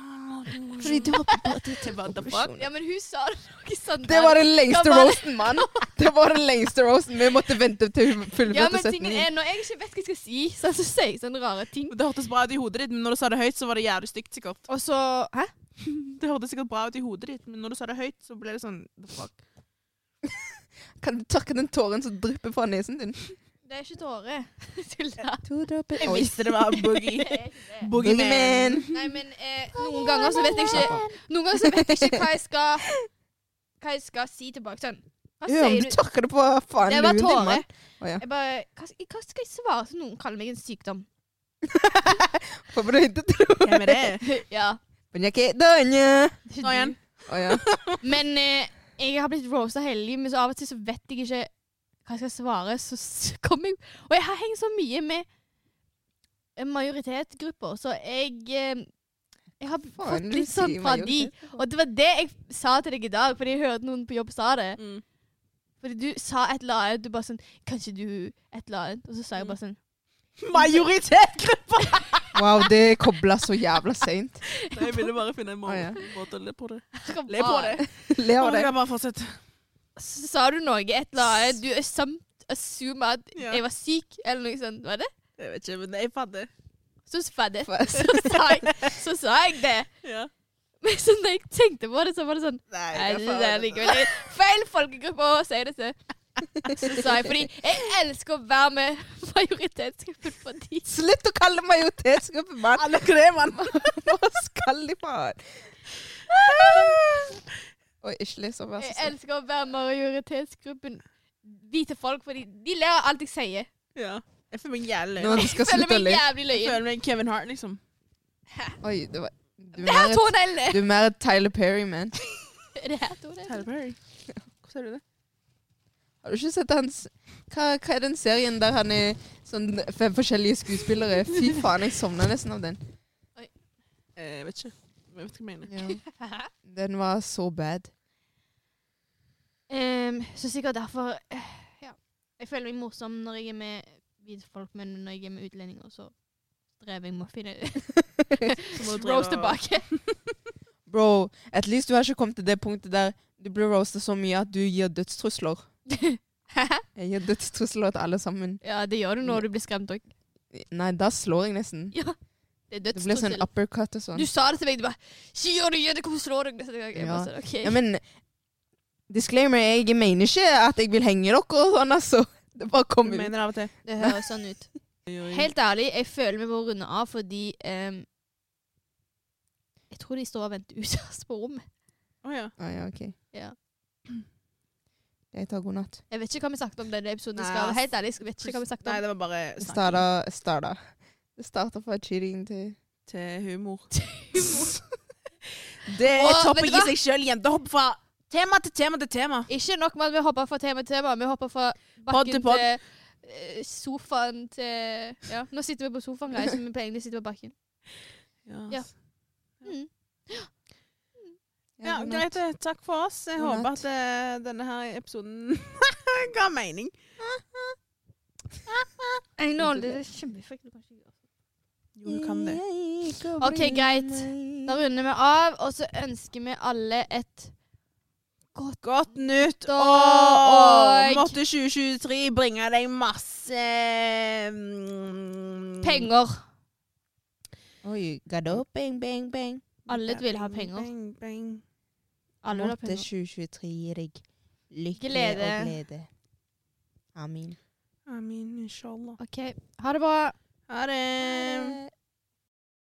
Speaker 3: så-
Speaker 2: Fordi du hopper bare ut til
Speaker 3: What the fuck?
Speaker 2: konklusjonen.
Speaker 1: Ja, men hun sa det noe sånn
Speaker 2: Det var den lengste
Speaker 1: Hva var det?
Speaker 2: roasten, mann. Det var den lengste roasten. Vi måtte vente til hun
Speaker 1: (laughs) Ja,
Speaker 2: fullførte
Speaker 1: men tingen
Speaker 2: setningen.
Speaker 1: er, når jeg ikke vet hva jeg skal si, så, så sier jeg sånne rare ting.
Speaker 3: Det hørtes bra ut i hodet ditt, men når du sa det høyt, så var det jævlig stygt, sikkert.
Speaker 1: Og så Hæ?
Speaker 3: Det hørtes sikkert bra ut i hodet ditt, men når du sa det høyt, så ble det sånn the fuck.
Speaker 2: Kan du tørke den tåren som drypper fra nesen din?
Speaker 1: Det er ikke tårer. (laughs) Tulla.
Speaker 2: To dråper
Speaker 3: Jeg
Speaker 2: Oi.
Speaker 3: visste det var
Speaker 1: Det
Speaker 3: boogie.
Speaker 1: er ikke det.
Speaker 3: Boogeyman.
Speaker 2: Boogeyman.
Speaker 1: Nei, men eh, noen ganger så vet jeg ikke Noen ganger så vet jeg ikke hva jeg skal Hva jeg skal si tilbake. Sånn. Hva
Speaker 2: Ja, men
Speaker 1: sier
Speaker 2: du
Speaker 1: du?
Speaker 2: tørker det på faen
Speaker 1: Det var
Speaker 2: luen din,
Speaker 1: tårer.
Speaker 2: mann. Å, ja.
Speaker 1: Jeg bare hva, skal- hva skal jeg svare til noen kaller meg en sykdom?
Speaker 2: Håper du ikke tror
Speaker 3: Hvem er det?
Speaker 1: (laughs) Ja.
Speaker 2: Men jeg er ikke dønje.
Speaker 1: det er
Speaker 3: Nå
Speaker 1: ikke
Speaker 3: igjen.
Speaker 1: du.
Speaker 2: Å ja.
Speaker 1: Men eh, jeg har blitt rosa hele livet, men så av og til så vet jeg ikke hva jeg skal svare. Så s- kom jeg Og jeg har hengt så mye med eh, majoritetsgrupper, så jeg eh, Jeg har fått
Speaker 2: Faen, du
Speaker 1: litt sånn
Speaker 2: sier
Speaker 1: fra
Speaker 2: majoritet.
Speaker 1: de. Og det var det jeg sa til deg i dag, fordi jeg hørte noen på jobb sa det.
Speaker 3: Mm.
Speaker 1: Fordi du sa et eller annet, du bare sånn Kanskje du et eller annet? Og så sa jeg bare sånn
Speaker 3: Majoritetsgruppa!
Speaker 2: Wow, det er kobla så jævla seint.
Speaker 3: Jeg ville bare finne en
Speaker 2: Å, ja.
Speaker 3: måte å le på det.
Speaker 2: (laughs)
Speaker 1: «Hva
Speaker 3: Le på
Speaker 1: faen?»
Speaker 3: det.
Speaker 2: Le av det.
Speaker 3: Jeg kan bare fortsette.
Speaker 1: Så sa du noe, et eller annet. Du assumed, assumed at
Speaker 3: Ja.
Speaker 1: jeg var syk, eller noe sånt. Var det?
Speaker 3: Jeg vet ikke, men jeg fatter.
Speaker 1: Så sa jeg det.
Speaker 2: Fast.
Speaker 1: så sa jeg, så sa jeg det.
Speaker 3: Ja.
Speaker 1: Men så når jeg tenkte på det, så var det sånn
Speaker 3: Nei,
Speaker 1: Nei,
Speaker 3: hva
Speaker 1: det er
Speaker 3: faen er dette?
Speaker 1: likevel det er feil folkegruppe å si det til. Så sa jeg fordi jeg elsker å være med majoritetsgruppen på de.
Speaker 2: (laughs) Slutt å kalle majoritetsgruppe mann!
Speaker 3: Alle hva det er, mann.
Speaker 2: Hva skal de faen? Oi, ikke le så, vær
Speaker 1: Jeg
Speaker 2: så snill.
Speaker 1: elsker å være majoritetsgruppen hvite folk, fordi de ler av alt jeg sier.
Speaker 3: Ja. Jeg føler meg jævlig
Speaker 2: Nå
Speaker 3: løyen.
Speaker 2: du
Speaker 1: Jeg
Speaker 2: skal
Speaker 1: føler
Speaker 2: slutte å
Speaker 1: meg
Speaker 2: le.
Speaker 1: jævlig
Speaker 3: Jeg
Speaker 1: løyen.
Speaker 3: føler meg Kevin Hart, liksom.
Speaker 2: Oi, det var du
Speaker 1: Det her
Speaker 2: er, mer, (laughs)
Speaker 1: toneglene!
Speaker 2: du er mer Tyler Perry, man.
Speaker 1: Det her toneglene.
Speaker 3: Perry. Hvordan ser du det?
Speaker 2: Har du ikke sett hans hva, hva er den serien der han er sånn fem forskjellige skuespillere? Fy faen, jeg sovna nesten
Speaker 1: (laughs)
Speaker 2: av den.
Speaker 3: Eh, Jeg vet ikke. Jeg vet ikke hva jeg mener.
Speaker 2: Den var så bad.
Speaker 1: Ehm, så sikkert derfor eh, ja. Jeg føler meg morsom når jeg er med hvite folk, men når jeg er med utlendinger, så strever jeg med å finne Rose tilbake.
Speaker 2: Bro, at least du har ikke kommet til det punktet der du blir roastet så mye at du gir
Speaker 1: (laughs)
Speaker 2: dødstrusler. Jeg gir dødstrusler til alle sammen.
Speaker 1: (laughs) ja, det gjør du når du blir skremt òg.
Speaker 2: Nei, da slår jeg nesten.
Speaker 1: Ja. Det er
Speaker 2: Det blir sånn
Speaker 1: dødstrussel.
Speaker 2: uppercut og sånn.
Speaker 1: Du sa det til meg, du bare 'Ikke gjør det, gjør det, kommer til å slå deg neste gang.' Jeg bare
Speaker 2: Ja.
Speaker 1: sånn, ok.
Speaker 2: Ja, men disclaimer, jeg mener ikke at jeg vil henge dere og sånn, altså. Det bare
Speaker 3: Du
Speaker 2: kommer ut.
Speaker 3: mener av og til.
Speaker 1: Det høres sånn (laughs) ut. Helt ærlig, jeg føler vi må runde av fordi ehm, Jeg tror de står og venter ute av oss på rommet.
Speaker 3: Å ja.
Speaker 2: Ah, ja, ok.
Speaker 1: Ja.
Speaker 2: Jeg tar god natt.
Speaker 1: Jeg vet ikke hva vi snakket om denne episoden. Jeg
Speaker 3: Nei,
Speaker 1: skal,
Speaker 3: ass.
Speaker 1: helt ærlig, jeg vet ikke hva vi snakket
Speaker 3: Nei,
Speaker 1: om.
Speaker 3: det var bare
Speaker 2: Det
Speaker 3: snakk
Speaker 2: starta, starta. Det starta fra cheating til
Speaker 3: til
Speaker 1: (laughs)
Speaker 3: humor.
Speaker 2: humor.
Speaker 3: Det
Speaker 1: Og,
Speaker 3: er topp
Speaker 1: vet
Speaker 3: å
Speaker 1: du
Speaker 3: gi
Speaker 1: hva?
Speaker 3: seg sjøl, jenter. Hopp fra tema til tema til tema.
Speaker 1: Ikke nok med at vi hopper fra tema til tema. Vi hopper fra
Speaker 3: Podd
Speaker 1: bakken
Speaker 3: til podd.
Speaker 1: til eh, sofaen til Ja, nå sitter vi på sofaen, guys, men vi pleier egentlig å sitte på bakken. Ja.
Speaker 3: ass.
Speaker 1: Mm.
Speaker 3: Ja, greit. det. Takk for oss. Jeg
Speaker 2: God
Speaker 3: håper
Speaker 2: natt.
Speaker 3: at eh, denne her episoden (laughs) ga mening.
Speaker 1: Jeg nå, det er kjempefryktelig. kanskje jeg gjør.
Speaker 3: Jo, du kan det.
Speaker 1: Ok, greit. Da runder vi av, og så ønsker vi alle et godt
Speaker 3: Godt nytt
Speaker 1: Da-
Speaker 3: år!
Speaker 1: og-
Speaker 3: Måtte 2023 bringe deg masse mm,
Speaker 1: penger.
Speaker 2: Oi, gado, bang, bang, bang.
Speaker 1: Alle vil ha penger.
Speaker 3: Bang, bang.
Speaker 1: Alle vil ha
Speaker 2: Måtte
Speaker 1: penger.
Speaker 2: 2023 gi deg lykke
Speaker 1: Glede.
Speaker 2: og glede. Amen.
Speaker 3: Amin, inshallah.
Speaker 1: OK, ha det bra.
Speaker 3: Ha det.